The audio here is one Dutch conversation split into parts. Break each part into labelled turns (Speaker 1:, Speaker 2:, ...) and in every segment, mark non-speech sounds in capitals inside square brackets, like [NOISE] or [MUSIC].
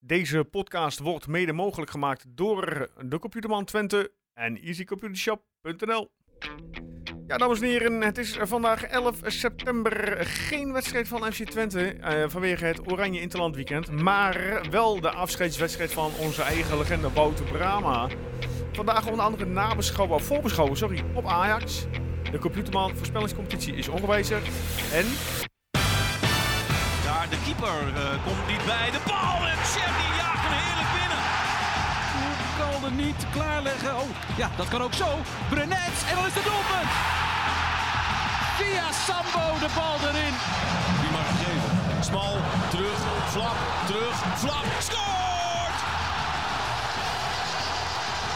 Speaker 1: Deze podcast wordt mede mogelijk gemaakt door de Computerman Twente en easycomputershop.nl. Ja, dames en heren, het is vandaag 11 september. Geen wedstrijd van FC Twente eh, vanwege het Oranje Interland Weekend. Maar wel de afscheidswedstrijd van onze eigen legende Wouter Brama. Vandaag onder andere nabeschouwen, voorbeschouwen, sorry, op Ajax. De Computerman voorspellingscompetitie is ongewijzigd. En
Speaker 2: Daar de keeper eh, komt niet bij. De bal en Chef die jaagt hem heerlijk binnen.
Speaker 3: kan er niet klaarleggen. Oh, ja, dat kan ook zo. Brenet, en dan is het doelpunt. Via Sambo de bal erin.
Speaker 2: Die mag het geven. Smal, terug, flap, terug, flap. Scoort!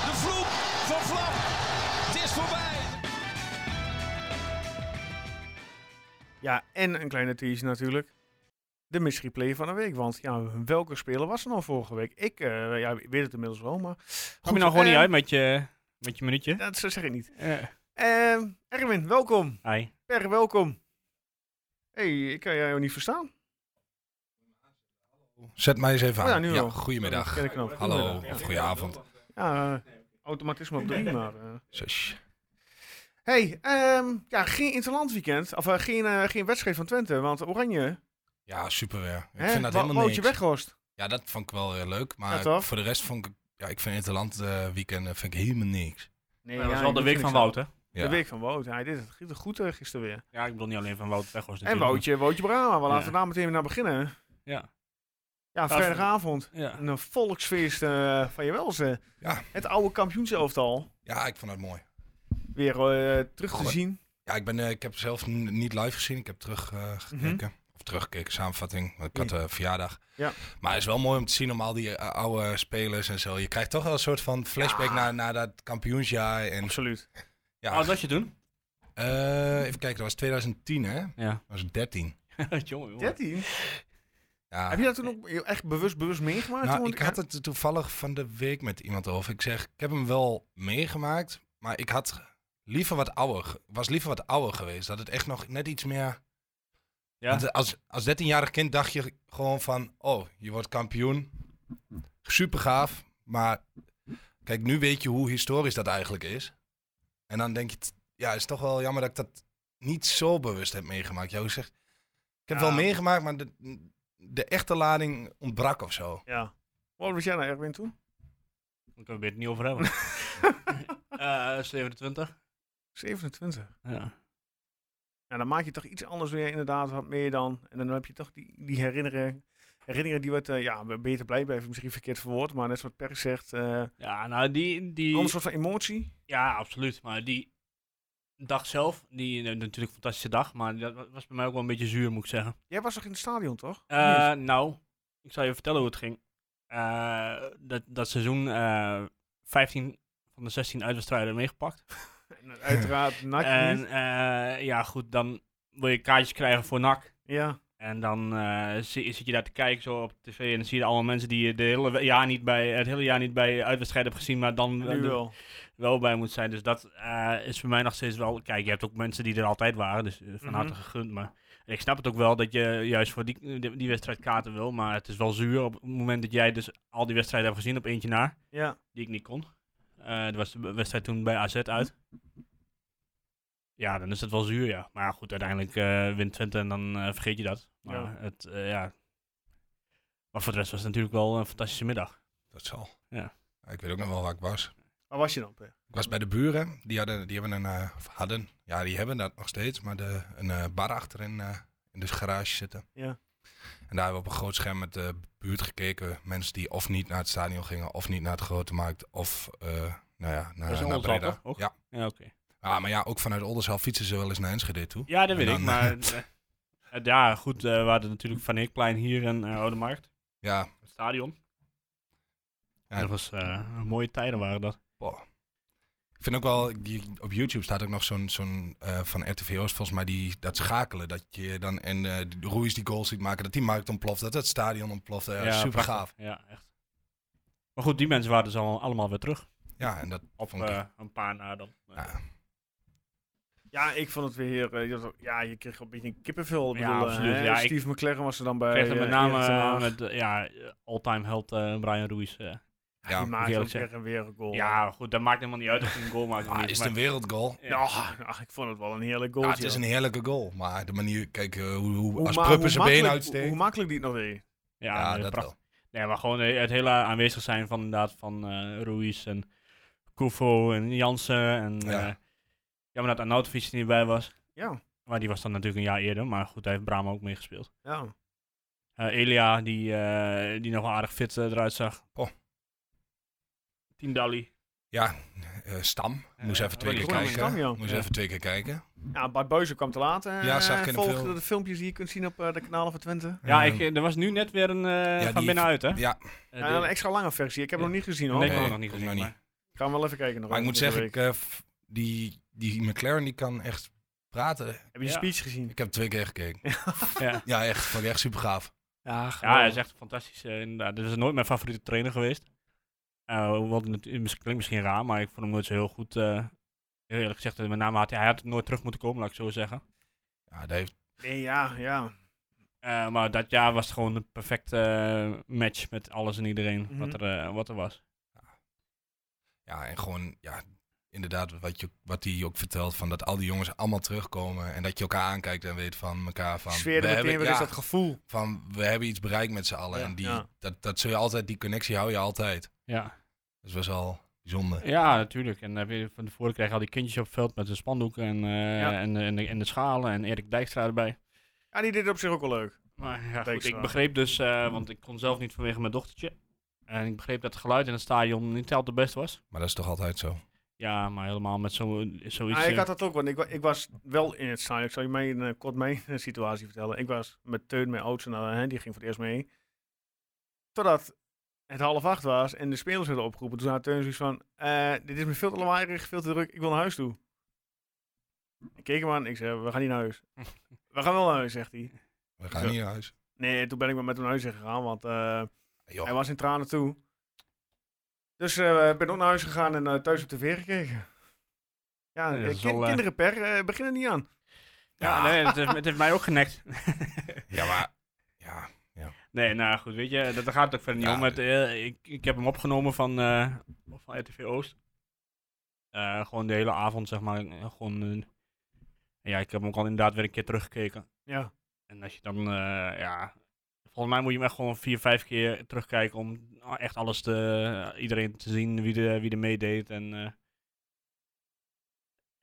Speaker 2: De vloek van flap. Het is voorbij.
Speaker 1: Ja, en een kleine tease natuurlijk. De mystery play van de week. Want ja, welke speler was er nou vorige week? Ik eh, ja, weet het inmiddels wel, maar...
Speaker 4: Kom je nou gewoon
Speaker 1: eh,
Speaker 4: niet uit met je, met je minuutje?
Speaker 1: Dat zeg ik niet.
Speaker 4: Eh,
Speaker 1: Eh, Erwin, welkom.
Speaker 4: Ai.
Speaker 1: Per, welkom. Hé, hey, ik kan jou niet verstaan.
Speaker 5: Zet mij eens even
Speaker 1: Oh
Speaker 5: aan.
Speaker 1: ja, nu wel.
Speaker 5: goedemiddag.
Speaker 1: Ken ik nou.
Speaker 5: Hallo,
Speaker 1: Goedemiddag.
Speaker 5: of goedenavond.
Speaker 1: Ja, eh, automatisme op drie, maar... eh.
Speaker 5: Zus.
Speaker 1: hey, ehm, ja, geen interland weekend. Of eh, geen, eh, geen wedstrijd van Twente, want Oranje...
Speaker 5: Ja, super weer. Ik
Speaker 1: hè,
Speaker 5: vind dat
Speaker 1: wa-
Speaker 5: helemaal niks.
Speaker 1: woutje weghorst.
Speaker 5: Ja, dat vond ik wel heel leuk.
Speaker 1: Ja,
Speaker 5: Maar
Speaker 1: toch?
Speaker 5: voor de rest vond ik... Ja, ik vind Interland eh weekend eh, vind ik helemaal niks.
Speaker 1: Nee,
Speaker 4: dat was
Speaker 1: ja,
Speaker 4: wel de
Speaker 1: dat
Speaker 4: week
Speaker 1: vind
Speaker 4: van
Speaker 1: ik zo.
Speaker 4: Wout, hè?
Speaker 5: Ja.
Speaker 1: De week van Wout. Hij deed het goed- goed eh, gisteren weer.
Speaker 4: Ja, ik bedoel niet alleen van Wout Weghorst
Speaker 1: En
Speaker 4: natuurlijk,
Speaker 1: Woutje, Woutje Brama. We laten
Speaker 4: Ja.
Speaker 1: we daar meteen naar beginnen.
Speaker 4: Ja.
Speaker 1: Ja, vrijdagavond.
Speaker 4: maar- Ja.
Speaker 1: Een volksfeest eh, van je welze.
Speaker 5: Ja.
Speaker 1: Het oude kampioenselftal
Speaker 5: ja, ik vond het mooi.
Speaker 1: weer eh, terug te
Speaker 5: Goh.
Speaker 1: zien.
Speaker 5: Ja, ik, ben, eh, ik heb zelf n- niet live gezien. Ik heb
Speaker 1: Mhm.
Speaker 5: teruggekeken. Of teruggekeken, samenvatting. Want ik had eh, verjaardag.
Speaker 1: Ja.
Speaker 5: Maar het is wel mooi om te zien om al die eh, oude spelers en zo. Je krijgt toch wel een soort van flashback naar, naar dat kampioensjaar. En,
Speaker 1: Absoluut.
Speaker 5: ja,
Speaker 4: Oh, dat was je toen? [LAUGHS]
Speaker 5: eh, even kijken, dat was 2010 hè? Dat
Speaker 4: Ja.
Speaker 5: was 13.
Speaker 4: jongen, jongen.
Speaker 1: 13?
Speaker 5: Ja.
Speaker 1: Heb je dat toen ook echt bewust, bewust meegemaakt?
Speaker 5: Nou,
Speaker 1: toen?
Speaker 5: ik had het er toevallig van de week met iemand over. Ik zeg, ik heb hem wel meegemaakt, maar ik had liever wat ouder, ge- was liever wat ouder geweest. Dat het echt nog net iets meer...
Speaker 4: Ja.
Speaker 5: Want als, als 13-jarig kind dacht je gewoon van, oh, je wordt kampioen. Super gaaf, maar kijk, nu weet je hoe historisch dat eigenlijk is. En dan denk je, t- ja, het is toch wel jammer dat ik dat niet zo bewust heb meegemaakt. Jou zegt, ik heb
Speaker 1: Ja.
Speaker 5: wel meegemaakt, maar de, de echte lading ontbrak of zo.
Speaker 1: Ja. Wat was jij nou Erwin toen?
Speaker 4: Daar kunnen we het niet
Speaker 1: [LAUGHS]
Speaker 4: over hebben. Eh 27.
Speaker 1: 27.
Speaker 4: Ja.
Speaker 1: Ja, dan maak je toch iets anders weer inderdaad wat meer dan. En dan heb je toch die, die herinneringen. Herinneringen die wat, eh, ja, beter blij blijven, misschien verkeerd verwoord, maar net zoals Per zegt, eh een
Speaker 4: ja, nou die... die
Speaker 1: ander soort van emotie.
Speaker 4: Ja, absoluut. Maar die dag zelf, die eh, natuurlijk een fantastische dag, maar dat wa- was bij mij ook wel een beetje zuur, moet ik zeggen.
Speaker 1: Jij was toch in het stadion, toch?
Speaker 4: Eh, Nou, ik zal je vertellen hoe het ging. Eh, dat, dat seizoen eh 15 van de 16 uitwedstrijden meegepakt.
Speaker 1: En
Speaker 5: [LAUGHS]
Speaker 1: Uiteraard, NAC
Speaker 4: en
Speaker 1: niet.
Speaker 4: eh, ja, goed, dan wil je kaartjes krijgen voor NAC.
Speaker 1: Ja,
Speaker 4: En dan eh, zi- zit je daar te kijken zo op tv en dan zie je allemaal mensen die je de hele we- jaar niet bij, het hele jaar niet bij uitwedstrijden hebt gezien, maar dan
Speaker 1: nu
Speaker 4: eh, er
Speaker 1: wel.
Speaker 4: wel bij moet zijn. Dus dat eh, is voor mij nog steeds wel... Kijk, je hebt ook mensen die er altijd waren, dus eh, van
Speaker 1: Mhm.
Speaker 4: harte gegund. Maar ik snap het ook wel dat je juist voor die, die, die wedstrijd kaarten wil, maar het is wel zuur op het moment dat jij dus al die wedstrijden hebt gezien op eentje na
Speaker 1: Ja.
Speaker 4: die ik niet kon. Eh dat was de b- wedstrijd toen bij AZ uit. Ja, dan is het wel zuur, ja. Maar ja, goed, uiteindelijk eh wint Twente en dan eh, vergeet je dat. Maar,
Speaker 1: Ja.
Speaker 4: Het, eh, ja. maar voor de rest was het natuurlijk wel een fantastische middag.
Speaker 5: Dat zal.
Speaker 4: Ja.
Speaker 5: Ik weet ook nog wel waar ik was.
Speaker 1: Waar was je dan, Per?
Speaker 5: Ik was bij de buren. Die, hadden, die hebben een... eh, of hadden. Ja, die hebben dat nog steeds. Maar de, een eh, bar achterin eh, in de garage zitten.
Speaker 1: Ja.
Speaker 5: En daar hebben we op een groot scherm met de buurt gekeken. Mensen die of niet naar het stadion gingen, of niet naar het grote markt, of eh, nou ja,
Speaker 4: Dat is in
Speaker 5: naar, naar
Speaker 4: Oldenzaal,
Speaker 5: Breda.
Speaker 4: toch? Ook?
Speaker 5: Ja.
Speaker 4: Ja, oké.
Speaker 5: Ah, maar ja, ook vanuit Oldenzaal fietsen ze wel eens naar Enschede toe.
Speaker 4: Ja, dat weet
Speaker 5: En [LAUGHS]
Speaker 4: ik.
Speaker 5: dan,
Speaker 4: Maar eh, eh, ja, goed, eh, we hadden natuurlijk Van Eekplein hier en eh Oude Markt.
Speaker 5: Ja,
Speaker 4: Het stadion.
Speaker 5: Ja.
Speaker 4: Dat was eh, mooie tijden waren dat.
Speaker 5: Ik vind ook wel, die, op YouTube staat ook nog zo'n zo'n eh, van RTV Oost, volgens mij, die, dat schakelen. Dat je dan en eh de Ruiz die goals ziet maken, dat die markt ontploft, dat het stadion ontploft. Ja, super
Speaker 4: prachtig.
Speaker 5: gaaf.
Speaker 4: Ja, echt. Maar goed, die mensen waren dus allemaal, allemaal weer terug.
Speaker 5: Ja, en dat
Speaker 4: Op
Speaker 5: vond ik-
Speaker 4: eh, een paar na dan.
Speaker 5: ja.
Speaker 1: Ja, ik vond het weer... eh, je had- ja, je kreeg een beetje een kippenvel. Ik
Speaker 4: Ja,
Speaker 1: bedoel, eh,
Speaker 4: absoluut.
Speaker 1: hè,
Speaker 4: Ja, ik
Speaker 1: Steve McLaren was er dan bij.
Speaker 4: Kreeg er
Speaker 1: eh,
Speaker 4: met name
Speaker 1: Erik ten
Speaker 4: eh,
Speaker 1: Hag.
Speaker 4: met eh, ja, all-time held eh, Brian Ruiz. eh.
Speaker 5: Ja,
Speaker 1: die maakte
Speaker 4: eerlijk
Speaker 1: ook weer en weer een goal.
Speaker 4: Ja, goed, dat maakt helemaal niet uit of hij een goal maakt. of
Speaker 5: Ah,
Speaker 4: niet,
Speaker 5: is het
Speaker 4: maar-
Speaker 5: een wereldgoal?
Speaker 4: Ja.
Speaker 1: Ja, nou, [LAUGHS] ik vond het wel een heerlijk goal.
Speaker 5: Ja, het is een heerlijke goal. Maar de manier, kijk, eh, hoe, hoe, als
Speaker 1: ma-
Speaker 5: Pruppen zijn been
Speaker 1: makkelijk-
Speaker 5: uitsteekt.
Speaker 1: Hoe, hoe makkelijk die het nog deed.
Speaker 4: Ja,
Speaker 5: ja,
Speaker 4: eh,
Speaker 5: dat
Speaker 4: prachtig.
Speaker 5: wel.
Speaker 4: Nee, maar gewoon eh, het hele aanwezig zijn van inderdaad van eh Ruiz en Kufo en Jansen. En, eh,
Speaker 5: Ja.
Speaker 4: ja. jammer dat Arnautovic er niet bij was.
Speaker 1: Ja,
Speaker 4: Maar die was dan natuurlijk een jaar eerder. Maar goed, daar heeft Brahma ook mee gespeeld.
Speaker 1: ja.
Speaker 4: Eh, Elia, die, eh, die nog wel aardig fit eh, eruit zag.
Speaker 5: Oh.
Speaker 4: Tindalli.
Speaker 5: Ja, eh, Stam. Moest
Speaker 4: Eh,
Speaker 5: even twee
Speaker 4: wat
Speaker 5: keer
Speaker 4: is
Speaker 1: Stam?
Speaker 5: kijken.
Speaker 1: Stam, ja.
Speaker 5: Moest
Speaker 4: Ja.
Speaker 5: even twee keer kijken.
Speaker 1: ja Bart Beuzen kwam te laat. eh,
Speaker 5: Ja, zag ik in de
Speaker 1: volg
Speaker 5: film.
Speaker 1: de filmpjes die je kunt zien op eh, de kanalen van Twente.
Speaker 4: Ja,
Speaker 5: Eh,
Speaker 4: ik, eh, er was nu net weer een eh,
Speaker 5: die
Speaker 4: van
Speaker 5: heeft-
Speaker 4: binnenuit, hè? Eh,
Speaker 5: Ja,
Speaker 1: Ja, en een extra lange versie. Ik heb
Speaker 4: Ja.
Speaker 1: hem nog niet gezien
Speaker 4: Nee,
Speaker 1: hoor.
Speaker 4: ik heb
Speaker 5: Nee,
Speaker 4: hem nog niet
Speaker 5: ook
Speaker 4: gezien.
Speaker 5: nog niet.
Speaker 4: maar-
Speaker 1: Ik ga hem wel even kijken. Nog
Speaker 5: maar ik
Speaker 1: hoor,
Speaker 5: moet
Speaker 1: deze
Speaker 5: zeggen,
Speaker 1: week.
Speaker 5: ik, eh, f- die, die McLaren die kan echt praten.
Speaker 1: heb je de
Speaker 4: ja.
Speaker 1: speech gezien?
Speaker 5: Ik heb twee keer gekeken.
Speaker 4: Ja.
Speaker 5: Ja, echt. Vond ik echt super gaaf.
Speaker 1: Ja,
Speaker 4: Ja, hij is echt fantastisch. eh, inderdaad. Dit is nooit mijn favoriete trainer geweest. Eh, hoewel het natu- mis- klinkt misschien raar, maar ik vond hem nooit zo heel goed. eh, heel eerlijk gezegd, eh, met name had hij, hij had nooit terug moeten komen, laat ik zo zeggen.
Speaker 5: Ja, dat heeft,
Speaker 1: Nee, ja, ja.
Speaker 4: Eh, maar dat jaar was het gewoon een perfecte eh, match met alles en iedereen wat,
Speaker 1: Mhm.
Speaker 4: er, eh, wat er was.
Speaker 5: ja, en gewoon, ja, inderdaad, wat hij wat die ook vertelt, van dat al die jongens allemaal terugkomen. En dat je elkaar aankijkt en weet van elkaar van...
Speaker 1: Sfeer
Speaker 5: we
Speaker 1: er meteen
Speaker 5: hebben-
Speaker 1: weer
Speaker 5: ja,
Speaker 1: is dat gevoel.
Speaker 5: van, we hebben iets bereikt met z'n allen.
Speaker 1: Ja.
Speaker 5: En die,
Speaker 1: Ja.
Speaker 5: dat, dat zul je altijd, die connectie hou je altijd.
Speaker 4: Ja,
Speaker 5: Dus was al bijzonder.
Speaker 4: ja natuurlijk. En dan heb je van tevoren krijg je al die kindjes op het veld met de spandoeken en, eh,
Speaker 1: Ja.
Speaker 4: en, en, de, en de schalen en Erik Dijkstra erbij.
Speaker 1: Ja, die deed het op zich ook wel leuk.
Speaker 4: Maar ja, goed,
Speaker 1: Dijkstra.
Speaker 4: ik begreep dus, eh, want ik kon zelf niet vanwege mijn dochtertje. En ik begreep dat het geluid in het stadion niet altijd best was.
Speaker 5: Maar dat is toch altijd zo.
Speaker 4: Ja, maar helemaal met zo, zoiets.
Speaker 1: Ja, Nou, ik
Speaker 4: eh,
Speaker 1: had dat ook, want ik, wa- ik was wel in het stadion. Ik zal je mijn, eh, kort mijn [LAUGHS] eh, situatie vertellen. Ik was met Teun, mijn oudste, nou, hè, die ging voor het eerst mee. Totdat het half acht was en de spelers werden opgeroepen. Toen had Teun zoiets van, eh, dit is me veel te lawaaierig, veel te druk, ik wil naar huis toe. Ik keek hem aan, ik zei, we gaan niet naar huis. we gaan wel naar huis, zegt hij.
Speaker 5: We gaan
Speaker 1: Zo.
Speaker 5: niet naar huis.
Speaker 1: Nee, toen ben ik maar met hem naar huis gegaan, want eh,
Speaker 5: Joh,
Speaker 1: hij was in tranen toe. Dus eh, ik ben ook naar huis gegaan en eh, thuis op tv gekeken. Ja,
Speaker 4: Ja, dat
Speaker 1: eh,
Speaker 4: is
Speaker 1: kin-
Speaker 4: wel, eh,
Speaker 1: kinderen per, eh, begin er niet aan.
Speaker 4: Ja, nee, het heeft, het heeft mij ook genekt.
Speaker 5: Ja, maar... Ja,
Speaker 4: Nee, nou goed, weet je, dat daar gaat het ook verder niet
Speaker 5: Ja.
Speaker 4: om. Het, eh, ik, ik heb hem opgenomen van, eh, van RTV Oost. Eh, gewoon de hele avond, zeg maar. eh, Gewoon, eh, ja, ik heb hem ook al inderdaad weer een keer teruggekeken.
Speaker 1: Ja.
Speaker 4: En als je dan, eh, ja... Volgens mij moet je hem echt gewoon vier, vijf keer terugkijken om echt alles te... eh, Iedereen te zien, wie er, wie er meedeed en... eh,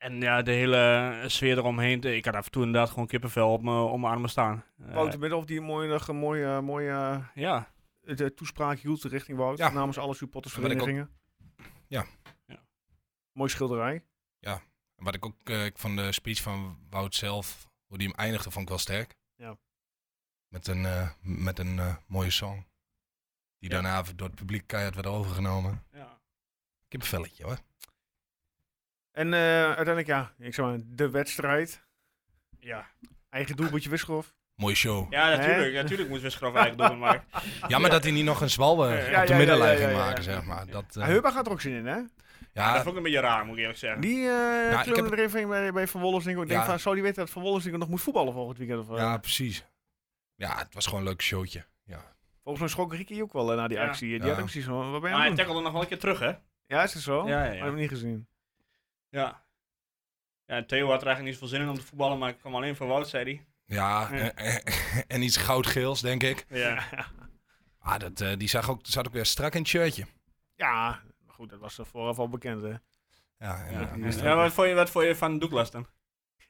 Speaker 4: en ja, de hele sfeer eromheen. Ik had af en toe inderdaad gewoon kippenvel op mijn op mijn armen staan. Eh,
Speaker 1: Wouter Middelhoff die een mooie, dag, een mooie, mooie
Speaker 4: ja.
Speaker 1: eh, de toespraak hield richting Wout
Speaker 5: Ja.
Speaker 1: namens alle supportersverenigingen.
Speaker 5: Ja.
Speaker 4: Ja.
Speaker 1: Mooi schilderij.
Speaker 5: Wat ik ook eh, ik van de speech van Wout zelf, hoe die hem eindigde, vond ik wel sterk.
Speaker 1: Ja.
Speaker 5: Met een, eh, m- met een eh, mooie song. Die
Speaker 4: Ja.
Speaker 5: daarna door het publiek keihard werd overgenomen.
Speaker 4: ja.
Speaker 5: Ik heb een velletje hoor.
Speaker 1: En eh, uiteindelijk, ja, ik zeg maar, de wedstrijd.
Speaker 4: Ja,
Speaker 1: Eigen doelpuntje Wisselhof.
Speaker 5: Mooie show.
Speaker 4: ja natuurlijk.
Speaker 1: Hè?
Speaker 4: Natuurlijk moeten we schroff eigenlijk doen, maar...
Speaker 5: Jammer dat hij niet nog een zwalbe
Speaker 4: Ja,
Speaker 5: op
Speaker 1: ja,
Speaker 5: de
Speaker 1: ja, ja,
Speaker 5: middenlijn
Speaker 1: ja,
Speaker 5: ging
Speaker 1: ja, ja.
Speaker 5: maken, zeg maar. Dat, eh,
Speaker 1: Ah, Heuba gaat er ook zin in, hè?
Speaker 5: ja,
Speaker 4: Dat vond ik een beetje raar, moet ik eerlijk zeggen.
Speaker 1: Die eh
Speaker 5: ik
Speaker 1: kleurde
Speaker 5: heb-
Speaker 1: er even in bij, bij Van Wolfswinkel. Ik denk
Speaker 5: Ja.
Speaker 1: van, zou die weten dat Van Wolfswinkel nog moet voetballen volgend weekend? Of, eh,
Speaker 5: ja, precies. Ja, het was gewoon een leuk showtje. Ja.
Speaker 1: Volgens mij schrok Ricky ook wel eh, na die
Speaker 4: Ja.
Speaker 1: actie. Die Oh.
Speaker 5: Ja.
Speaker 1: had ook precies van, wat ben je
Speaker 4: Maar
Speaker 1: aan
Speaker 4: hij
Speaker 1: het doen?
Speaker 4: tackelde nog wel een keer terug, hè?
Speaker 1: Ja, is het zo?
Speaker 4: Ja, ja, ja.
Speaker 1: Maar Ik heb hem niet gezien.
Speaker 4: Ja. Ja, Theo had er eigenlijk niet zoveel zin in om te voetballen, maar ik kwam alleen voor Wout, zei hij.
Speaker 5: Ja,
Speaker 4: Ja.
Speaker 5: En, [LAUGHS] en iets goudgeels, denk ik.
Speaker 4: Ja.
Speaker 5: Ah, dat, eh, die zag ook, zat ook weer strak in het shirtje.
Speaker 1: [LAUGHS] Ja, maar goed, dat was er vooraf al bekend, hè?
Speaker 5: Ja, en,
Speaker 4: ja.
Speaker 5: eh,
Speaker 4: Ja, wat, vond je, wat vond je van Douglas dan?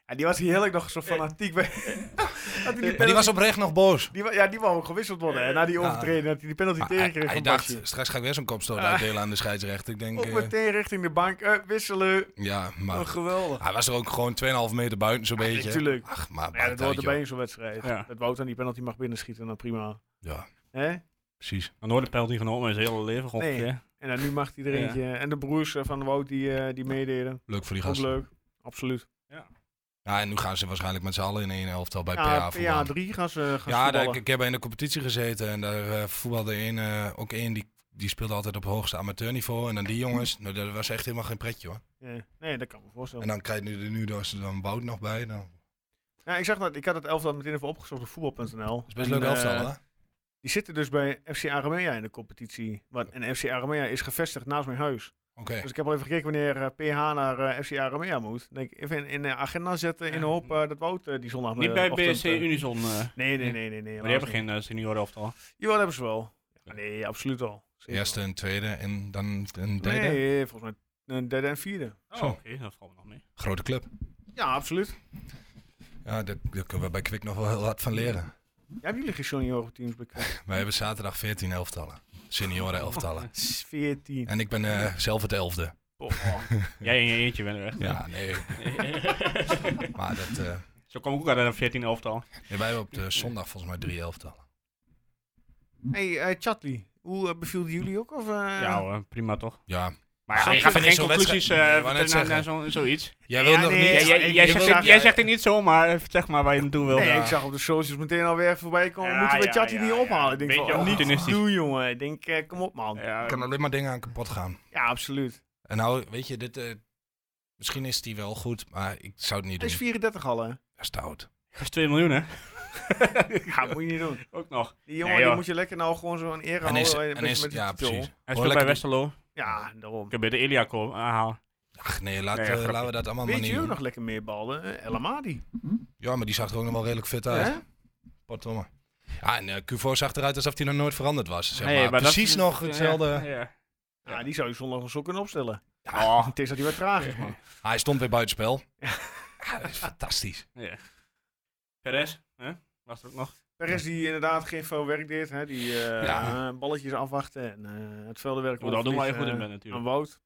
Speaker 1: En die was heerlijk nog zo fanatiek bij. [LAUGHS] dat hij die
Speaker 5: Maar die was
Speaker 1: penalty-
Speaker 5: oprecht nog boos.
Speaker 1: die wa- ja, die wou ook gewisseld worden. hè, Na die overtreding, dat hij die penalty
Speaker 5: Maar
Speaker 1: tegen kreeg.
Speaker 5: hij
Speaker 1: van
Speaker 5: dacht,
Speaker 1: Basje.
Speaker 5: straks ga ik weer zo'n kopstoot
Speaker 1: Ah.
Speaker 5: uitdelen aan de scheidsrechter. Ik denk,
Speaker 1: Ook
Speaker 5: eh,
Speaker 1: meteen richting de bank. eh, wisselen.
Speaker 5: ja,
Speaker 1: Oh,
Speaker 5: maar
Speaker 1: geweldig.
Speaker 5: hij was er ook gewoon 2,5 meter buiten zo'n beetje.
Speaker 1: natuurlijk.
Speaker 5: Ach, maar
Speaker 1: Maar ja, dat hoort
Speaker 5: buitenuitje,
Speaker 1: erbij in zo'n wedstrijd.
Speaker 4: Ja.
Speaker 1: Dat Wouter die penalty mag binnenschieten, dan prima.
Speaker 5: joh. Ja,
Speaker 1: Hè?
Speaker 5: precies.
Speaker 4: Dan hoorde penalty genomen in zijn hele leven,
Speaker 1: Nee. ongeveer. En dan nu mag iedereen.
Speaker 4: Ja.
Speaker 1: eentje. En de broers eh, van Wout die, eh, die meededen.
Speaker 5: Leuk voor die
Speaker 1: Ook
Speaker 5: gasten.
Speaker 1: leuk. Absoluut.
Speaker 5: Ja, en nu gaan ze waarschijnlijk met z'n allen in één elftal bij
Speaker 1: Ja,
Speaker 5: PA voetballen.
Speaker 1: PA3 gaan ze gaan ze
Speaker 5: Ja, daar-
Speaker 1: voetballen.
Speaker 5: ik, ik heb in de competitie gezeten en daar eh, voetbalde één, eh, ook één die die speelde altijd op hoogste amateurniveau. En dan die jongens, nou, dat was echt helemaal geen pretje hoor.
Speaker 1: Ja. Nee, dat kan ik me voorstellen.
Speaker 5: En dan krijg je er nu dus dan Wout nog bij. Dan. Dat
Speaker 1: Ja, ik, zag dat, ik had het elftal meteen even opgezocht op voetbal.nl.
Speaker 5: is best
Speaker 1: En,
Speaker 5: leuk elftal
Speaker 1: eh,
Speaker 5: hè?
Speaker 1: Die zitten dus bij FC Aramea in de competitie. Wat, en FC Aramea is gevestigd naast mijn huis.
Speaker 5: Oké.
Speaker 1: Dus ik heb al even gekeken wanneer eh, PH naar eh, FC Aramea moet. Dan Denk ik even in, in de agenda zetten in de hoop eh, dat Wout eh, die zondag
Speaker 4: Niet bij BSC Unison. eh,
Speaker 1: Nee, nee, nee, nee. nee
Speaker 4: maar die hebben geen eh, seniorenelftal.
Speaker 1: Jawel, hebben ze wel. Ja, nee, absoluut al. Zeker
Speaker 5: Eerste en tweede en dan een
Speaker 1: wel.
Speaker 5: derde.
Speaker 1: Nee, volgens mij een derde en vierde.
Speaker 5: Zo.
Speaker 4: Oh, oké, dat valt me nog mee.
Speaker 5: Grote club.
Speaker 1: Ja, absoluut.
Speaker 5: Ja, dat- daar kunnen we bij Kwik nog wel heel hard van leren.
Speaker 1: Ja, hebben jullie geen senioren teams bekend?
Speaker 5: [LAUGHS] Wij hebben zaterdag 14 elftallen. Senioren elftallen.
Speaker 1: 14.
Speaker 5: En ik ben eh, zelf het elfde.
Speaker 1: Oh.
Speaker 4: Jij in je eentje bent er
Speaker 1: [LAUGHS]
Speaker 4: echt.
Speaker 5: Ja, nee. maar dat, eh,
Speaker 4: Zo kom ik ook uit een 14 elftal.
Speaker 5: nee, wij hebben op de zondag volgens mij drie elftallen.
Speaker 1: Hey, eh, Chatli, hoe eh, beviel die jullie ook? Of, eh,
Speaker 4: Ja hoor, prima toch.
Speaker 5: Ja.
Speaker 4: Maar ja,
Speaker 5: Zeker.
Speaker 4: ik ga er
Speaker 5: Vind ik
Speaker 4: geen
Speaker 5: zo'n
Speaker 4: conclusies eh
Speaker 5: wedstrijd- Nee, ik wou net
Speaker 4: vertellen naar
Speaker 5: zeggen.
Speaker 4: zo'n- zoiets.
Speaker 5: Jij wil
Speaker 1: Ja,
Speaker 5: nog
Speaker 1: nee,
Speaker 5: niet...
Speaker 4: Jij, jij,
Speaker 1: ik-
Speaker 4: jij
Speaker 1: ik
Speaker 4: zegt,
Speaker 1: wil-
Speaker 4: het, jij zegt het niet zomaar, eh, zeg maar waar je naartoe wil.
Speaker 1: Nee,
Speaker 4: Ja.
Speaker 1: ik zag op de socials meteen alweer voorbij komen.
Speaker 4: Ja,
Speaker 1: Moeten we
Speaker 4: ja,
Speaker 1: Chatli
Speaker 4: ja,
Speaker 1: niet
Speaker 4: ja.
Speaker 1: ophalen? Ik denk
Speaker 4: Beetje
Speaker 1: van, oh, niet
Speaker 4: opportunistisch.
Speaker 1: doen jongen. Ik denk, eh, kom op man. Ja,
Speaker 4: Ja,
Speaker 5: Ik kan alleen maar dingen aan kapot gaan.
Speaker 1: absoluut.
Speaker 5: En nou, weet je, dit, eh, misschien is die wel goed, maar ik zou het niet
Speaker 1: Hij is
Speaker 5: doen.
Speaker 1: 34 al
Speaker 4: [LAUGHS]
Speaker 1: hè?
Speaker 5: Dat is te oud.
Speaker 4: dat is 2 miljoen hè.
Speaker 1: Ja, moet je niet doen.
Speaker 4: Ook nog.
Speaker 1: Die jongen
Speaker 4: Nee,
Speaker 1: die
Speaker 4: joh.
Speaker 1: moet je lekker nou gewoon zo'n ere
Speaker 5: En is,
Speaker 1: houden. een
Speaker 5: en
Speaker 1: beetje
Speaker 5: is,
Speaker 1: met die
Speaker 5: ja,
Speaker 1: titel.
Speaker 5: precies.
Speaker 4: Hij
Speaker 5: Hoor
Speaker 4: speelt bij
Speaker 5: lekker-
Speaker 4: Westerlo.
Speaker 1: Ja, daarom.
Speaker 4: Ik heb bij de eh, Elia komen aanhalen.
Speaker 5: Ach nee, laat,
Speaker 4: Nee,
Speaker 5: eh,
Speaker 4: grapje.
Speaker 5: laten we dat allemaal maar
Speaker 1: Weet
Speaker 5: niet
Speaker 1: je ook
Speaker 5: doen.
Speaker 1: nog lekker meer ballen? Eh, El Amadi.
Speaker 5: Ja, maar die zag er ook nog wel redelijk fit uit.
Speaker 1: Hè?
Speaker 5: Potverdomme. Ja, en eh Cuvo zag eruit alsof hij nog nooit veranderd was. Zeg
Speaker 4: Nee,
Speaker 5: maar.
Speaker 4: dat-
Speaker 5: Precies nog hetzelfde.
Speaker 4: Ja, ja.
Speaker 1: Ja, die zou je zondag nog zo kunnen opstellen.
Speaker 4: Oh,
Speaker 1: Het is dat hij wat traag is,
Speaker 5: [LAUGHS]
Speaker 1: man.
Speaker 5: Hij stond weer
Speaker 4: [LAUGHS]
Speaker 5: buitenspel. Ja, dat is fantastisch.
Speaker 4: ja. Perez, hè? Was er ook nog.
Speaker 1: Perez die inderdaad geen veel werk deed. Hè? Die eh,
Speaker 5: Ja.
Speaker 1: eh, balletjes afwachten en eh, het veldenwerk.
Speaker 4: Oh, dat doen wij
Speaker 1: overvliegen,
Speaker 4: goed in
Speaker 1: eh,
Speaker 4: ben
Speaker 1: Aan
Speaker 4: natuurlijk.
Speaker 1: Wout.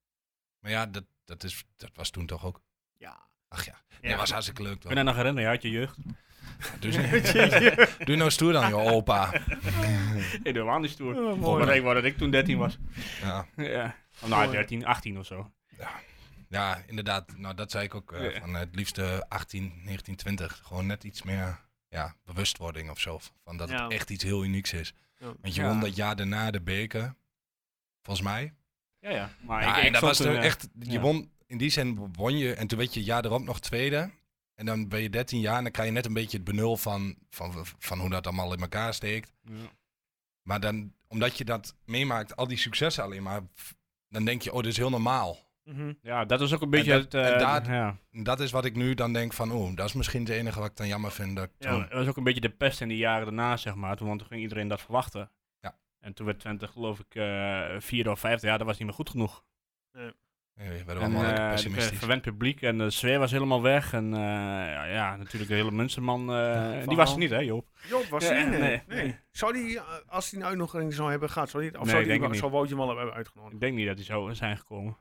Speaker 5: Maar ja, dat, dat, is, dat was toen toch ook.
Speaker 1: Ja.
Speaker 5: Ach ja, dat was hartstikke leuk.
Speaker 4: Ik
Speaker 5: Toch?
Speaker 4: ben er nog herinneren, uit je [LAUGHS] jeugd.
Speaker 5: Dus, doe nou stoer dan, joh, opa.
Speaker 4: [LAUGHS] Nee, dat was niet stoer.
Speaker 1: Oh,
Speaker 4: Maar
Speaker 1: mooi.
Speaker 4: ik wou dat ik toen 13 was.
Speaker 5: Ja,
Speaker 4: [LAUGHS] Ja. Of nou, 13, 18 of zo.
Speaker 5: ja inderdaad. Nou, dat zei ik ook. eh,
Speaker 4: Ja.
Speaker 5: van, eh, het liefste 18, 19, 20. Gewoon net iets meer ja, bewustwording of zo. Van dat
Speaker 1: Ja.
Speaker 5: het echt iets heel unieks is.
Speaker 1: Ja.
Speaker 5: Want je
Speaker 4: Ja.
Speaker 5: won dat jaar daarna de beker. Volgens mij.
Speaker 4: Ja, ja. Maar
Speaker 5: Ja,
Speaker 4: ik, ik
Speaker 5: en dat
Speaker 4: zat
Speaker 5: was
Speaker 4: toen,
Speaker 5: toen
Speaker 4: eh,
Speaker 5: echt, je
Speaker 4: ja.
Speaker 5: won, in die zin won je, en toen werd je het jaar erop nog tweede. En dan ben je 13 jaar en dan krijg je net een beetje het benul van, van, van hoe dat allemaal in elkaar steekt.
Speaker 4: Ja.
Speaker 5: Maar dan, omdat je dat meemaakt, al die successen alleen maar, f- dan denk je, oh, dit is heel normaal.
Speaker 1: Mhm.
Speaker 4: Ja, dat was ook een beetje
Speaker 5: dat-
Speaker 4: het... eh,
Speaker 5: en daar-
Speaker 4: ja.
Speaker 5: En dat is wat ik nu dan denk van, oh, dat is misschien het enige wat ik dan jammer vind. Dat ik
Speaker 1: Ja.
Speaker 5: toen-
Speaker 4: Dat was ook een beetje de pest in die jaren daarna, zeg maar. Toen, want toen ging iedereen dat verwachten.
Speaker 5: Ja.
Speaker 4: En toen werd Twente, geloof ik, eh vierde of vijfde. Ja, dat was niet meer goed genoeg.
Speaker 5: nee, we werden
Speaker 4: en,
Speaker 5: allemaal lekker
Speaker 4: eh, het
Speaker 5: pessimistisch.
Speaker 4: verwend publiek en de sfeer was helemaal weg. En eh, ja, ja, natuurlijk de hele Munsterman. eh, die
Speaker 1: verhaal.
Speaker 4: was er niet, hè, Joop?
Speaker 1: Job, was
Speaker 4: Ja,
Speaker 1: die? Nee.
Speaker 4: nee,
Speaker 1: nee.
Speaker 4: nee.
Speaker 1: Zou die, eh, als die een uitnodiging zou hebben gehad, zou die, of
Speaker 4: Nee,
Speaker 1: zou,
Speaker 4: ik
Speaker 1: die,
Speaker 4: denk het
Speaker 1: zou Wout je hem al hebben uitgenodigd?
Speaker 4: Ik denk niet dat hij zo zijn gekomen.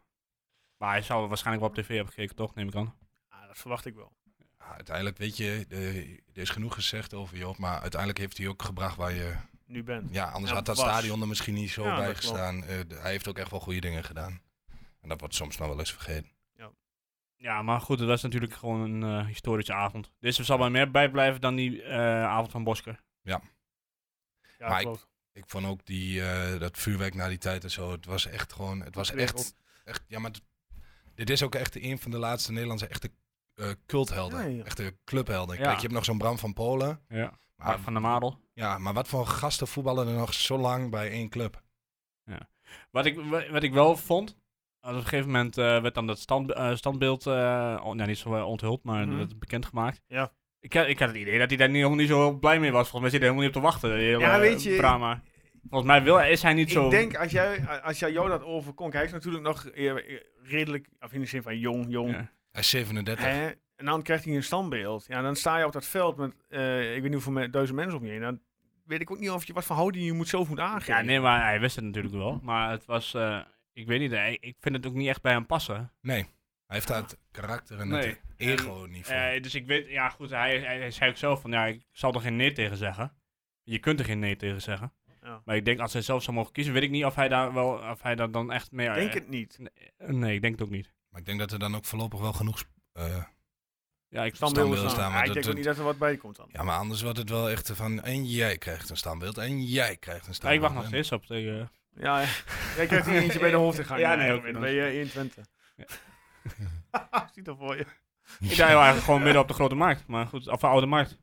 Speaker 4: Maar hij zou waarschijnlijk wel op tv hebben gekeken, toch? Neem ik aan.
Speaker 1: Ja, Ah, dat verwacht ik wel.
Speaker 5: Ja, Ah, uiteindelijk, weet je, de- er is genoeg gezegd over Joop, maar uiteindelijk heeft hij ook gebracht waar je...
Speaker 1: Nu bent.
Speaker 5: Ja, anders
Speaker 1: Ja,
Speaker 5: had dat
Speaker 1: was.
Speaker 5: stadion er misschien niet zo
Speaker 1: Ja,
Speaker 5: bij
Speaker 1: dat klopt.
Speaker 5: gestaan. Eh, d- hij heeft ook echt wel goede dingen gedaan. En dat wordt soms nog wel eens vergeten.
Speaker 4: Ja, maar goed, dat is natuurlijk gewoon een eh, historische avond. Deze zal bij meer bijblijven dan die eh, avond van Bosker.
Speaker 1: Ja,
Speaker 5: Maar ik-
Speaker 1: klopt.
Speaker 5: Ik vond ook die, eh, dat vuurwerk na die tijd en zo. Het was echt gewoon. Het was echt.
Speaker 1: Geregeld.
Speaker 5: echt ja, maar het- dit is ook echt een van de laatste Nederlandse echte eh, culthelden.
Speaker 1: Ja, ja.
Speaker 5: Echte clubhelden.
Speaker 4: Ja.
Speaker 5: Kijk, je hebt nog zo'n Bram van Polen.
Speaker 4: Ja.
Speaker 5: Maar,
Speaker 4: van de Madel.
Speaker 5: ja, maar wat voor gasten voetballen er nog zo lang bij één club?
Speaker 4: Wat ik, wa- wat ik wel vond, als op een gegeven moment eh, werd dan dat stand, eh, standbeeld, eh, on- nou, niet zo eh, onthuld, maar
Speaker 1: Mhm.
Speaker 4: dat werd bekendgemaakt.
Speaker 1: Ja.
Speaker 4: Ik, had- ik had het idee dat hij daar niet, helemaal niet zo blij mee was. Volgens mij zit hij helemaal niet op te wachten. die hele,
Speaker 1: Ja,
Speaker 4: eh,
Speaker 1: weet je,
Speaker 4: Drama. Volgens mij wil, is hij niet zo...
Speaker 1: Ik denk, als jij, als jij jou dat overkomt, hij is natuurlijk nog eh, redelijk, of in de zin van jong, jong.
Speaker 4: Ja.
Speaker 5: Hij is 37.
Speaker 1: Hè? En dan krijgt hij een standbeeld. Ja, dan sta je op dat veld met, eh, ik weet niet hoeveel me- duizend mensen om je heen. Dan weet ik ook niet of je wat voor houding je moet zo goed aangeven.
Speaker 4: Ja, nee, maar hij wist het natuurlijk wel. Maar het was, eh, ik weet niet, hij- ik vind het ook niet echt bij hem passen.
Speaker 5: Nee. Hij heeft dat karakter en
Speaker 4: Nee.
Speaker 5: het ego-niveau.
Speaker 4: Eh, dus ik weet, ja goed, hij, hij, hij zei ook zelf van, ja, ik zal er geen nee tegen zeggen. Je kunt er geen nee tegen zeggen.
Speaker 1: Ja.
Speaker 4: Maar ik denk, als hij zelf zou mogen kiezen, weet ik niet of hij daar wel, of hij daar dan echt mee...
Speaker 1: Ik denk het niet.
Speaker 4: eh, Nee, ik denk het ook niet.
Speaker 5: maar ik denk dat er dan ook voorlopig wel genoeg. sp- eh,
Speaker 4: Ja, ik
Speaker 5: Standbeeld.
Speaker 1: Standbeelden
Speaker 5: staan,
Speaker 1: staan. Ja,
Speaker 5: maar
Speaker 1: ik
Speaker 5: dat-
Speaker 1: denk ook
Speaker 5: dat-
Speaker 1: niet dat er wat bij komt dan.
Speaker 5: Ja, maar anders wordt het wel echt van. En jij krijgt een standbeeld. En jij krijgt een
Speaker 4: Ja, ik
Speaker 5: standbeeld.
Speaker 4: wacht nog
Speaker 5: en-
Speaker 1: [LAUGHS]
Speaker 4: steeds op tegen...
Speaker 1: Ja, Jij krijgt hier eentje bij de hoofdingang.
Speaker 4: Ja, nee,
Speaker 1: Erwin,
Speaker 4: ook.
Speaker 1: Bij eh, 120.
Speaker 4: Ja.
Speaker 1: [LAUGHS] Ziet er voor je.
Speaker 4: Ik deed eigenlijk gewoon midden op de grote markt. Maar goed, of de oude markt.